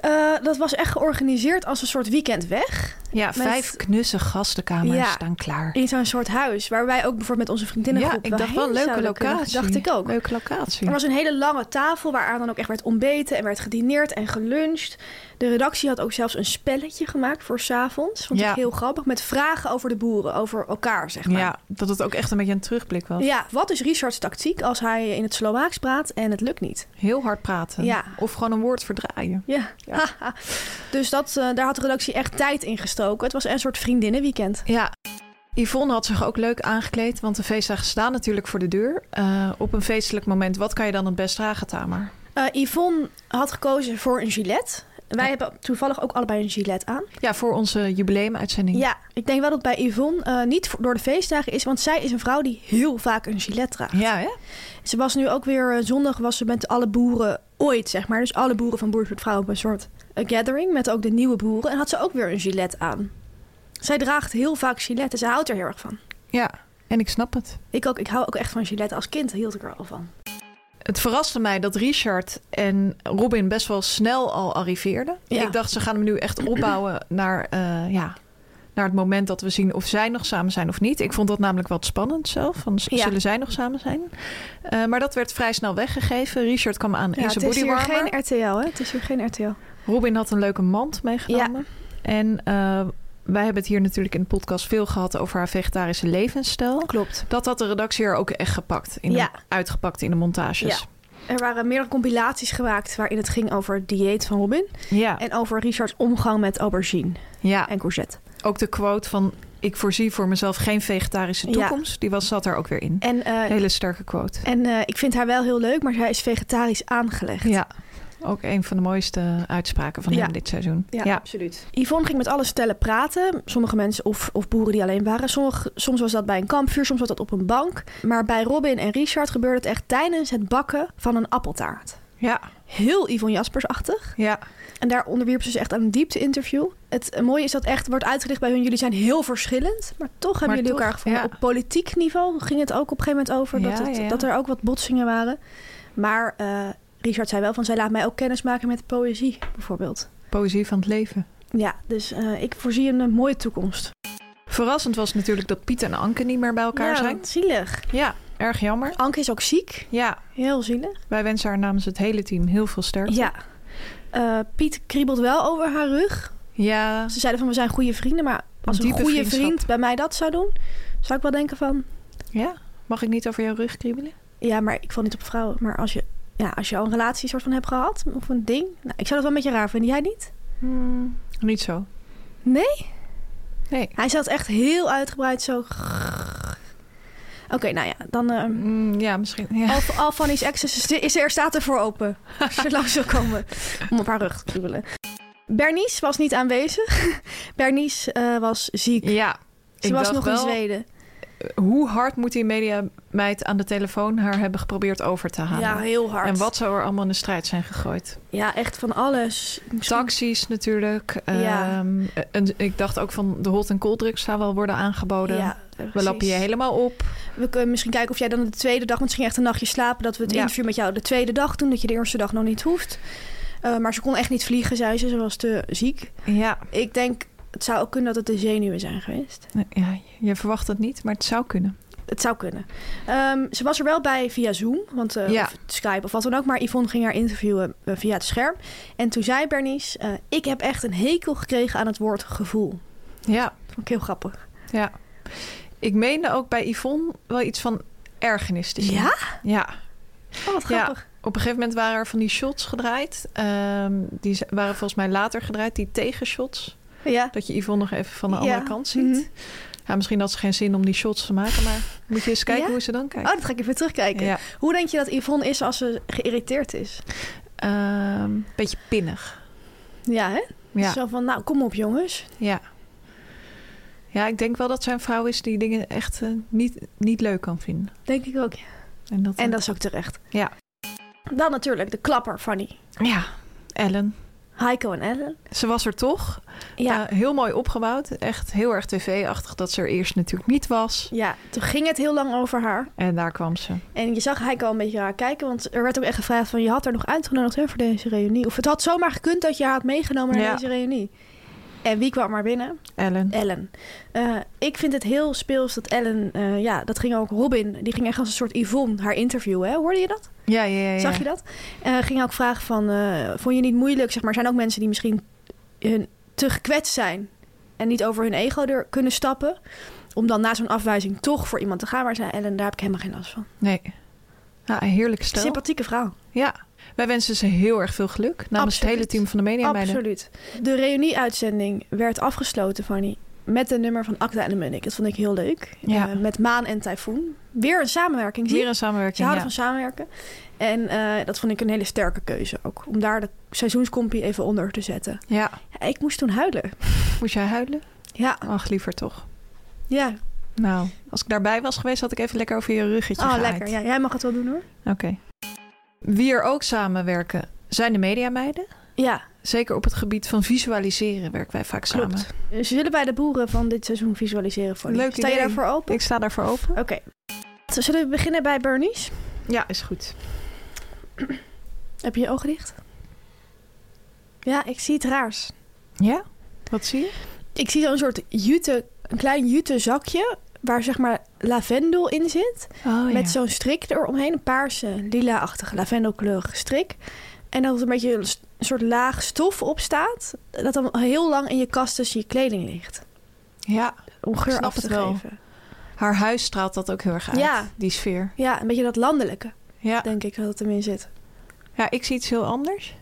Speaker 2: Eh, dat was echt georganiseerd als een soort weekend weg.
Speaker 1: ja
Speaker 2: Met-
Speaker 1: vijf knusse gastenkamers
Speaker 2: Ja.
Speaker 1: staan klaar.
Speaker 2: In zo'n soort huis, waar wij ook bijvoorbeeld met onze
Speaker 1: Ja,
Speaker 2: vriendinnengroep...
Speaker 1: ik dacht
Speaker 2: heen
Speaker 1: wel leuke
Speaker 2: zouden kunnen,
Speaker 1: locatie.
Speaker 2: Dacht ik ook.
Speaker 1: Leuke locatie.
Speaker 2: Er was een hele lange tafel waaraan dan ook echt werd ontbeten... en werd gedineerd en geluncht. De redactie had ook zelfs een spelletje gemaakt voor 's avonds. Vond
Speaker 1: Ja.
Speaker 2: ik heel grappig. Met vragen over de boeren, over elkaar, zeg maar.
Speaker 1: Ja, dat het ook echt een beetje een terugblik was.
Speaker 2: Ja, wat is Richards tactiek als hij in het Slovaaks praat en het lukt niet?
Speaker 1: Heel hard praten.
Speaker 2: Ja.
Speaker 1: Of gewoon een woord verdraaien.
Speaker 2: Ja. dus dat, eh, daar had de redactie echt tijd in gestoken. Het was een soort vriendinnenweekend.
Speaker 1: Ja. Yvonne had zich ook leuk aangekleed, want de feestdagen staan natuurlijk voor de deur. Eh, op een feestelijk moment, wat kan je dan het best dragen, Tamer?
Speaker 2: Eh, Yvonne had gekozen voor een gilet. Wij hebben toevallig ook allebei een gilet aan.
Speaker 1: Ja, voor onze jubileumuitzending.
Speaker 2: Ja, ik denk wel dat bij Yvonne eh, niet voor- door de feestdagen is, want zij is een vrouw die heel vaak een gilet draagt.
Speaker 1: Ja, hè?
Speaker 2: Ze was nu ook weer, eh, zondag was ze met alle boeren ooit, zeg maar. Dus alle boeren van Boers met Vrouw op een soort eh, gathering met ook de nieuwe boeren. En had ze ook weer een gilet aan. Zij draagt heel vaak giletten, ze houdt er heel erg van.
Speaker 1: Ja, en ik snap het.
Speaker 2: Ik ook, ik hou ook echt van giletten. Als kind hield ik er al van.
Speaker 1: Het verraste mij dat Richard en Robin best wel snel al arriveerden.
Speaker 2: Ja.
Speaker 1: Ik dacht, ze gaan hem nu echt opbouwen naar, eh, ja, naar het moment dat we zien of zij nog samen zijn of niet. Ik vond dat namelijk wat spannend zelf. Van, z-
Speaker 2: Ja.
Speaker 1: Zullen zij nog samen zijn? Eh, maar dat werd vrij snel weggegeven. Richard kwam aan in
Speaker 2: het
Speaker 1: zijn
Speaker 2: is hier
Speaker 1: bodywarmer.
Speaker 2: geen RTL, hè? Het is hier geen RTL.
Speaker 1: Robin had een leuke mand meegenomen. En eh, wij hebben het hier natuurlijk in de podcast veel gehad over haar vegetarische levensstijl.
Speaker 2: Klopt.
Speaker 1: Dat had de redactie er ook echt gepakt. In de-
Speaker 2: Ja.
Speaker 1: uitgepakt in de montages.
Speaker 2: Er waren meerdere compilaties gemaakt waarin het ging over het dieet van Robin.
Speaker 1: Ja.
Speaker 2: En over Richards omgang met aubergine
Speaker 1: ja.
Speaker 2: en courgette.
Speaker 1: Ook de quote van ik voorzie voor mezelf geen vegetarische
Speaker 2: Ja.
Speaker 1: toekomst. Die was, zat er ook weer in.
Speaker 2: En, eh,
Speaker 1: Hele sterke quote.
Speaker 2: en eh, ik vind haar wel heel leuk, maar zij is vegetarisch aangelegd.
Speaker 1: Ja, ook een van de mooiste uitspraken van
Speaker 2: Ja.
Speaker 1: hem dit seizoen. Ja.
Speaker 2: absoluut. Yvonne ging met alle stellen praten. Sommige mensen of, of boeren die alleen waren. Sommige, soms was dat bij een kampvuur, soms was dat op een bank. Maar bij Robin en Richard gebeurde het echt tijdens het bakken van een appeltaart.
Speaker 1: ja,
Speaker 2: Heel Yvonne Jaspersachtig.
Speaker 1: ja.
Speaker 2: En daar onderwierp ze zich echt aan een diepte-interview. Het eh, mooie is dat echt wordt uitgelicht bij hun. Jullie zijn heel verschillend, maar toch hebben
Speaker 1: Maar
Speaker 2: jullie
Speaker 1: toch,
Speaker 2: elkaar gevonden.
Speaker 1: ja.
Speaker 2: Op politiek niveau ging het ook op een gegeven moment over
Speaker 1: Ja,
Speaker 2: dat, het-
Speaker 1: ja, ja.
Speaker 2: dat er ook wat botsingen waren. Maar eh, Richard zei wel van, zij laat mij ook kennis maken met poëzie, bijvoorbeeld.
Speaker 1: Poëzie van het leven.
Speaker 2: Ja, dus eh, ik voorzie een eh, mooie toekomst.
Speaker 1: Verrassend was natuurlijk dat Piet en Anke niet meer bij elkaar
Speaker 2: ja,
Speaker 1: zijn.
Speaker 2: zielig.
Speaker 1: Ja, erg jammer.
Speaker 2: Anke is ook ziek.
Speaker 1: Ja,
Speaker 2: Heel zielig.
Speaker 1: wij wensen haar namens het hele team heel veel sterkte.
Speaker 2: Ja. Eh, Piet kriebelt wel over haar rug.
Speaker 1: Ja,
Speaker 2: Ze zeiden van, we zijn goede vrienden. Maar als een
Speaker 1: Diepe
Speaker 2: goede
Speaker 1: vriendschap.
Speaker 2: vriend bij mij dat zou doen, zou ik wel denken van...
Speaker 1: ja. Mag ik niet over jouw rug kriebelen?
Speaker 2: Ja, maar ik val niet op vrouwen. Maar als je, ja, als je al een relatie soort van hebt gehad, of een ding... Nou, ik zou dat wel een beetje raar vinden. Jij niet?
Speaker 1: Hmm, niet zo.
Speaker 2: Nee?
Speaker 1: Nee.
Speaker 2: Hij zat echt heel uitgebreid zo... Oké, nou ja, dan... eh,
Speaker 1: Hmm, ja, misschien. Ja.
Speaker 2: Al, al van die exes is, is er staat ervoor open. Als je langs zou komen. Om op haar rug te kriebelen. Bernice was niet aanwezig. Bernice eh, was ziek.
Speaker 1: ja.
Speaker 2: Ze
Speaker 1: ik
Speaker 2: was
Speaker 1: dacht
Speaker 2: nog in
Speaker 1: wel-
Speaker 2: Zweden.
Speaker 1: hoe hard moet die mediameid aan de telefoon haar hebben geprobeerd over te halen?
Speaker 2: Ja, heel hard.
Speaker 1: Ah. En wat zou er allemaal in de strijd zijn gegooid?
Speaker 2: Ja, echt van alles. Misschien-
Speaker 1: Taxis natuurlijk.
Speaker 2: Ja.
Speaker 1: ehm, en ik dacht ook van de hot en cold drugs zou wel worden aangeboden.
Speaker 2: Ja,
Speaker 1: We
Speaker 2: precies.
Speaker 1: lappen je helemaal op.
Speaker 2: We kunnen misschien kijken of jij dan de tweede dag... want ze ging echt een nachtje slapen... dat we het
Speaker 1: Ja.
Speaker 2: interview met jou de tweede dag doen... dat je de eerste dag nog niet hoeft. Eh, maar ze kon echt niet vliegen, zei ze. Ze was te ziek.
Speaker 1: Ja,
Speaker 2: Ik denk... Het zou ook kunnen dat het de zenuwen zijn geweest.
Speaker 1: ja, je verwacht het niet, maar het zou kunnen.
Speaker 2: Het zou kunnen. Ehm, ze was er wel bij via Zoom, want, eh,
Speaker 1: Ja.
Speaker 2: of Skype of wat dan ook. Maar Yvonne ging haar interviewen eh, via het scherm. En toen zei Bernice, eh, ik heb echt een hekel gekregen aan het woord gevoel.
Speaker 1: Ja,
Speaker 2: Dat vond ik heel grappig.
Speaker 1: ja. Ik meende ook bij Yvonne wel iets van ergernis te zien.
Speaker 2: Dus Ja?
Speaker 1: Ja,
Speaker 2: Oh, wat grappig.
Speaker 1: Op een gegeven moment waren er van die shots gedraaid. Ehm, die z- waren volgens mij later gedraaid, die tegenshots.
Speaker 2: Ja.
Speaker 1: Dat je Yvonne nog even van de
Speaker 2: Ja.
Speaker 1: andere kant ziet.
Speaker 2: Mhm.
Speaker 1: Ja, misschien had ze geen zin om die shots te maken, maar moet je eens kijken
Speaker 2: Ja?
Speaker 1: hoe ze dan
Speaker 2: Oh,
Speaker 1: kijkt.
Speaker 2: dat ga ik even terugkijken.
Speaker 1: Ja.
Speaker 2: Hoe denk je dat Yvonne is als ze geïrriteerd is?
Speaker 1: Ehm, beetje pinnig.
Speaker 2: Ja, hè?
Speaker 1: Ja.
Speaker 2: Zo van, nou, kom op jongens.
Speaker 1: ja. Ja, ik denk wel dat zij een vrouw is die dingen echt eh, niet, niet leuk kan vinden.
Speaker 2: Denk ik ook.
Speaker 1: En dat, eh,
Speaker 2: En dat is ook terecht.
Speaker 1: Ja.
Speaker 2: Dan natuurlijk de klapper, Fanny.
Speaker 1: Ja, Ellen.
Speaker 2: Heiko en Ellen.
Speaker 1: Ze was er toch.
Speaker 2: Ja.
Speaker 1: Eh, heel mooi opgebouwd. Echt heel erg tv-achtig dat ze er eerst natuurlijk niet was.
Speaker 2: Ja, toen ging het heel lang over haar.
Speaker 1: En daar kwam ze.
Speaker 2: En je zag Heiko een beetje haar kijken, want er werd ook echt gevraagd van... je had haar nog uitgenodigd hè, voor deze reunie. Of het had zomaar gekund dat je haar had meegenomen naar
Speaker 1: Ja.
Speaker 2: deze reunie. En wie kwam maar binnen?
Speaker 1: Ellen.
Speaker 2: Ellen. Eh, ik vind het heel speels dat Ellen... eh, ja, dat ging ook Robin, die ging echt als een soort Yvonne haar interviewen. Hè? Hoorde je dat?
Speaker 1: Ja, ja, ja. ja.
Speaker 2: Zag je dat? Eh ging ook vragen van, eh, vond je niet moeilijk? Zeg maar, zijn ook mensen die misschien hun te gekwetst zijn en niet over hun ego er kunnen stappen. Om dan na zo'n afwijzing toch voor iemand te gaan. Maar zei Ellen, daar heb ik helemaal geen last van.
Speaker 1: Nee. Nou, een heerlijk stel.
Speaker 2: Sympathieke vrouw.
Speaker 1: Ja. Wij wensen ze heel erg veel geluk. Namens het
Speaker 2: Absoluut.
Speaker 1: hele team van de media meiden.
Speaker 2: Absoluut. De reunie-uitzending werd afgesloten, Fanny. Met een nummer van Akda en de Munnik. Dat vond ik heel leuk.
Speaker 1: Ja.
Speaker 2: Eh, met Maan en Typhoon. Weer een samenwerking. Zie
Speaker 1: Weer een
Speaker 2: Ze
Speaker 1: samenwerking.
Speaker 2: houden
Speaker 1: ja.
Speaker 2: van samenwerken. En eh, dat vond ik een hele sterke keuze ook. Om daar de seizoenscompie even onder te zetten.
Speaker 1: ja.
Speaker 2: Ja, ik moest toen huilen.
Speaker 1: Moest jij huilen?
Speaker 2: Ja,
Speaker 1: Ach, liever toch.
Speaker 2: ja.
Speaker 1: Nou, als ik daarbij was geweest, had ik even lekker over je ruggetje
Speaker 2: Oh,
Speaker 1: gehaaid.
Speaker 2: lekker. Ja, jij mag het wel doen hoor.
Speaker 1: Oké. Wie er ook samenwerken zijn de mediameiden.
Speaker 2: Ja,
Speaker 1: Zeker op het gebied van visualiseren werken wij vaak samen.
Speaker 2: klopt. Ze Eh, zullen bij de boeren van dit seizoen visualiseren voor je.
Speaker 1: Leuk
Speaker 2: Sta je
Speaker 1: idee.
Speaker 2: daarvoor open?
Speaker 1: Ik sta daarvoor open.
Speaker 2: Oké. Zullen we beginnen bij Bernice?
Speaker 1: Ja, is goed.
Speaker 2: Heb je je ogen dicht? Ja, ik zie het raars.
Speaker 1: Ja? Wat zie je?
Speaker 2: Ik zie zo'n soort jute, een klein jute zakje waar zeg maar lavendel in zit.
Speaker 1: Oh,
Speaker 2: Met zo'n strik eromheen, een paarse, lila-achtige, lavendelkleurige strik. En dat er een beetje een s- een soort laag stof op staat. Dat dan heel lang in je kast tussen je kleding ligt.
Speaker 1: Ja,
Speaker 2: Om geur
Speaker 1: snap
Speaker 2: af te
Speaker 1: het wel.
Speaker 2: geven.
Speaker 1: haar huis straalt dat ook heel erg uit.
Speaker 2: Ja.
Speaker 1: Die sfeer.
Speaker 2: Ja, een beetje dat landelijke,
Speaker 1: Ja.
Speaker 2: denk ik, dat het erin zit.
Speaker 1: ja, ik zie iets heel anders.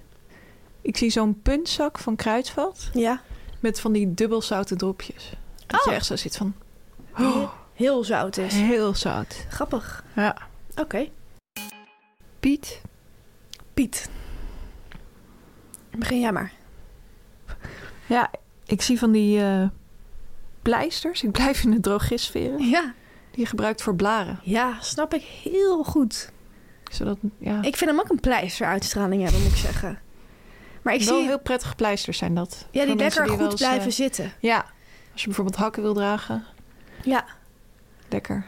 Speaker 1: Ik zie zo'n puntzak van Kruidvat
Speaker 2: Ja,
Speaker 1: met van die dubbelzouten dropjes. Dat je echt zo zit van... Oh,
Speaker 2: heel zout is.
Speaker 1: heel zout.
Speaker 2: Grappig.
Speaker 1: Ja.
Speaker 2: Oké.
Speaker 1: Piet.
Speaker 2: Piet. Begin jij maar.
Speaker 1: Ja, ik zie van die eh, pleisters. Ik blijf in de drogistferen.
Speaker 2: Ja.
Speaker 1: Die je gebruikt voor blaren.
Speaker 2: Ja, snap ik heel goed.
Speaker 1: Zodat, ja.
Speaker 2: Ik vind hem ook een pleisteruitstraling hebben, moet ik zeggen. Maar ik
Speaker 1: wel
Speaker 2: zie
Speaker 1: heel prettige pleisters zijn dat.
Speaker 2: ja,
Speaker 1: Voor
Speaker 2: die
Speaker 1: mensen
Speaker 2: lekker
Speaker 1: wel
Speaker 2: goed
Speaker 1: eens, eh,
Speaker 2: blijven zitten.
Speaker 1: ja, als je bijvoorbeeld hakken wil dragen.
Speaker 2: Ja.
Speaker 1: Lekker.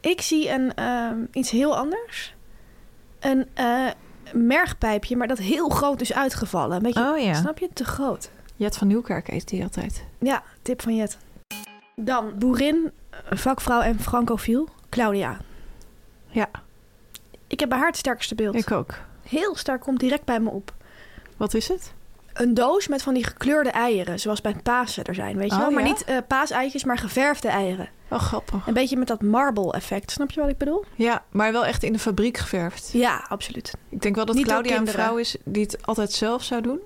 Speaker 2: Ik zie een, ehm, iets heel anders. Een eh, mergpijpje, maar dat heel groot is uitgevallen. Een beetje,
Speaker 1: Oh ja.
Speaker 2: snap je? Te groot.
Speaker 1: Jet van Nieuwkerk eet die altijd.
Speaker 2: Ja, tip van Jet. Dan boerin, vakvrouw en francofiel, Claudia.
Speaker 1: Ja.
Speaker 2: Ik heb bij haar het sterkste beeld.
Speaker 1: Ik ook.
Speaker 2: Heel sterk komt direct bij me op.
Speaker 1: Wat is het?
Speaker 2: Een doos met van die gekleurde eieren, zoals bij Pasen er zijn, weet je
Speaker 1: Oh,
Speaker 2: wel? Maar
Speaker 1: ja?
Speaker 2: niet eh paaseitjes, maar geverfde eieren.
Speaker 1: Oh, grappig.
Speaker 2: Een beetje met dat marble effect, snap je wat ik bedoel?
Speaker 1: Ja, maar wel echt in de fabriek geverfd.
Speaker 2: Ja, absoluut.
Speaker 1: Ik denk wel dat
Speaker 2: Niet door
Speaker 1: Claudia een
Speaker 2: kinderen.
Speaker 1: vrouw is die het altijd zelf zou doen.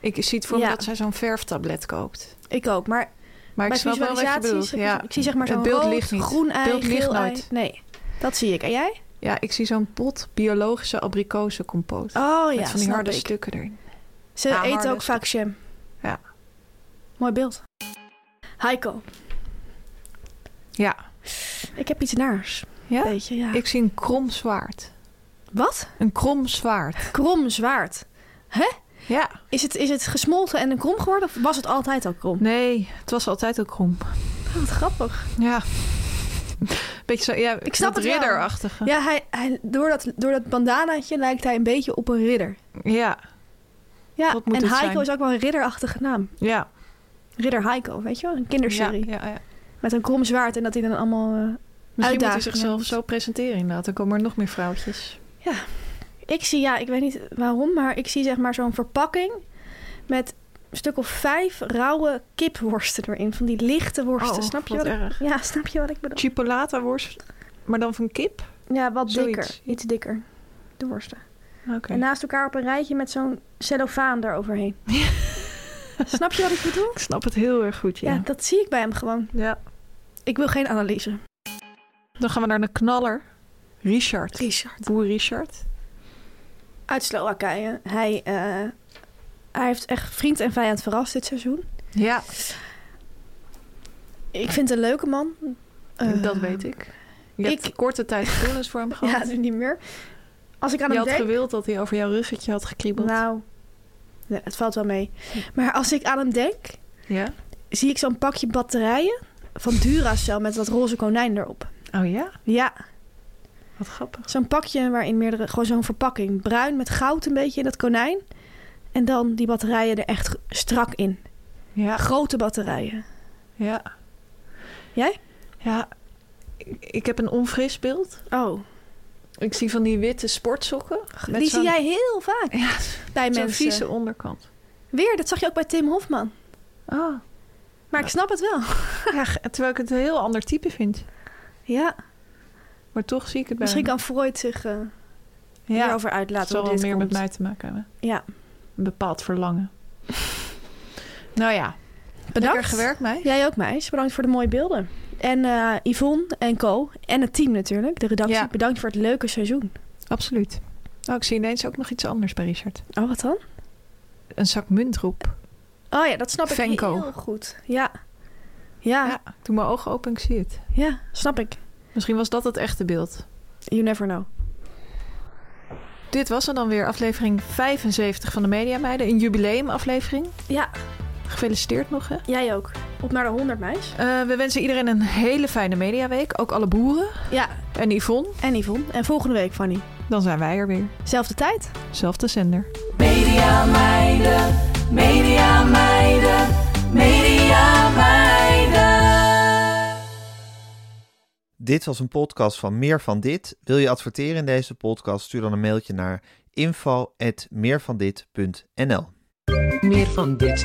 Speaker 1: Ik zie het voor me
Speaker 2: Ja.
Speaker 1: dat zij zo'n verftablet koopt.
Speaker 2: Ik ook, maar
Speaker 1: Maar ik
Speaker 2: bij
Speaker 1: snap wel wat je
Speaker 2: visualisaties,
Speaker 1: bedoelt.
Speaker 2: ik,
Speaker 1: Ja.
Speaker 2: ik zie zeg maar
Speaker 1: Het
Speaker 2: zo'n
Speaker 1: beeld
Speaker 2: rood,
Speaker 1: ligt niet.
Speaker 2: groen ei,
Speaker 1: Het beeld ligt
Speaker 2: geel ei.
Speaker 1: nooit.
Speaker 2: Nee, dat zie ik. En jij?
Speaker 1: ja, ik zie zo'n pot biologische abrikozencompoot.
Speaker 2: Oh ja,
Speaker 1: met van die
Speaker 2: snap
Speaker 1: harde
Speaker 2: ik.
Speaker 1: stukken erin.
Speaker 2: Ze
Speaker 1: Ja,
Speaker 2: eten
Speaker 1: harde
Speaker 2: ook vaak jam.
Speaker 1: Ja.
Speaker 2: Mooi beeld. Heiko,
Speaker 1: Ja.
Speaker 2: ik heb iets naars.
Speaker 1: Ja?
Speaker 2: Weet je, ja.
Speaker 1: Ik zie een krom zwaard.
Speaker 2: Wat?
Speaker 1: Een krom zwaard.
Speaker 2: Krom zwaard.
Speaker 1: Ja.
Speaker 2: Is het, is het gesmolten en een krom geworden? Of was het altijd al krom?
Speaker 1: Nee, het was altijd ook krom.
Speaker 2: Wat grappig.
Speaker 1: Ja. Beetje zo, ja,
Speaker 2: Ik snap
Speaker 1: dat
Speaker 2: het wel.
Speaker 1: ridderachtige.
Speaker 2: Ja, hij, hij, door, dat, door dat bandanaatje lijkt hij een beetje op een ridder.
Speaker 1: Ja,
Speaker 2: Ja,
Speaker 1: Dat moet
Speaker 2: en
Speaker 1: het
Speaker 2: Heiko
Speaker 1: zijn.
Speaker 2: is ook wel een ridderachtige naam.
Speaker 1: ja.
Speaker 2: Ridder Heiko, weet je wel? Een kinderserie.
Speaker 1: Ja, ja, ja.
Speaker 2: Met een krom zwaard en dat hij dan allemaal... eh,
Speaker 1: Misschien moet hij
Speaker 2: Uitdagingen.
Speaker 1: zichzelf zo presenteren inderdaad. Dan komen er nog meer vrouwtjes.
Speaker 2: Ik zie, ja, ik weet niet waarom, maar ik zie zeg maar zo'n verpakking met een stuk of vijf rauwe kipworsten erin. Van die lichte worsten,
Speaker 1: Oh,
Speaker 2: snap je
Speaker 1: wat
Speaker 2: wat, ik-
Speaker 1: erg.
Speaker 2: Ja, snap je wat ik bedoel?
Speaker 1: Chipolata worst, maar dan van kip.
Speaker 2: Ja, wat
Speaker 1: Zoiets.
Speaker 2: dikker. Iets dikker. De worsten.
Speaker 1: Oké.
Speaker 2: En naast elkaar op een rijtje met zo'n cellofaan eroverheen. snap je wat ik bedoel?
Speaker 1: Ik snap het heel erg goed,
Speaker 2: Ja.
Speaker 1: ja.
Speaker 2: dat zie ik bij hem gewoon.
Speaker 1: Ja.
Speaker 2: Ik wil geen analyse.
Speaker 1: Dan gaan we naar een knaller. Richard.
Speaker 2: Richard.
Speaker 1: Boer Richard.
Speaker 2: Uit Slowakije. Hij, eh, hij heeft echt vriend en vijand verrast dit seizoen.
Speaker 1: Ja,
Speaker 2: Ik vind het een leuke man. Eh,
Speaker 1: dat weet ik. Je
Speaker 2: ik-
Speaker 1: hebt korte tijd gevoelens voor hem gehad.
Speaker 2: Ja, nu niet meer. Als ik aan
Speaker 1: je
Speaker 2: hem
Speaker 1: had
Speaker 2: denk...
Speaker 1: gewild dat hij over jouw ruggetje had gekriebeld.
Speaker 2: Nou, nee, het valt wel mee. Maar als ik aan hem denk,
Speaker 1: Ja?
Speaker 2: zie ik zo'n pakje batterijen van Duracell met dat roze konijn erop.
Speaker 1: Oh ja?
Speaker 2: Ja,
Speaker 1: Wat grappig.
Speaker 2: zo'n pakje waarin meerdere, gewoon zo'n verpakking. Bruin met goud een beetje in dat konijn. En dan die batterijen er echt strak in.
Speaker 1: Ja,
Speaker 2: Grote batterijen.
Speaker 1: ja.
Speaker 2: Jij?
Speaker 1: Ja, ik, ik heb een onfris beeld.
Speaker 2: Oh,
Speaker 1: Ik zie van die witte sportsokken. met
Speaker 2: die
Speaker 1: zo'n-
Speaker 2: zie jij heel vaak
Speaker 1: Ja,
Speaker 2: bij
Speaker 1: zo'n
Speaker 2: mensen.
Speaker 1: vieze onderkant.
Speaker 2: Weer, dat zag je ook bij Tim Hofman.
Speaker 1: Oh.
Speaker 2: Maar ik snap het wel.
Speaker 1: Ja, ge- terwijl ik het een heel ander type vind.
Speaker 2: Ja,
Speaker 1: Maar toch zie ik het bij
Speaker 2: misschien
Speaker 1: hem.
Speaker 2: kan Freud zich eh
Speaker 1: ja,
Speaker 2: hierover
Speaker 1: Het
Speaker 2: uitlaten.
Speaker 1: zal
Speaker 2: hoe
Speaker 1: wel
Speaker 2: dit
Speaker 1: meer met
Speaker 2: komt.
Speaker 1: mij te maken hebben.
Speaker 2: Ja,
Speaker 1: Een bepaald verlangen. nou ja. Lekker
Speaker 2: bedankt.
Speaker 1: gewerkt, mij.
Speaker 2: Jij ook, meis. Bedankt voor de mooie beelden. En eh, Yvonne en Co. En het team natuurlijk, de redactie.
Speaker 1: Ja.
Speaker 2: Bedankt voor het leuke seizoen.
Speaker 1: Absoluut. Oh, ik zie ineens ook nog iets anders bij Richard.
Speaker 2: Oh, wat dan?
Speaker 1: Een zak muntroep.
Speaker 2: Oh ja, dat snap ik
Speaker 1: Venko.
Speaker 2: heel goed. Ja. Ja, ja,
Speaker 1: Ja, ik doe mijn ogen open en ik zie het.
Speaker 2: snap ik.
Speaker 1: Misschien was dat het echte beeld.
Speaker 2: You never know.
Speaker 1: Dit was er dan weer, aflevering 75 van de Media Meiden. Een jubileumaflevering.
Speaker 2: Ja,
Speaker 1: Gefeliciteerd nog, hè?
Speaker 2: jij ook. Op naar de 100, meis.
Speaker 1: Eh, we wensen iedereen een hele fijne mediaweek. Ook alle boeren.
Speaker 2: Ja,
Speaker 1: En Yvonne,
Speaker 2: en Yvonne. En volgende week, Fanny.
Speaker 1: dan zijn wij er weer.
Speaker 2: Zelfde tijd.
Speaker 1: Zelfde zender.
Speaker 3: Media meiden, media meiden, media meiden.
Speaker 4: Dit was een podcast van Meer van Dit. Wil je adverteren in deze podcast? Stuur dan een mailtje naar info.meervandit.nl
Speaker 5: Meer van dit.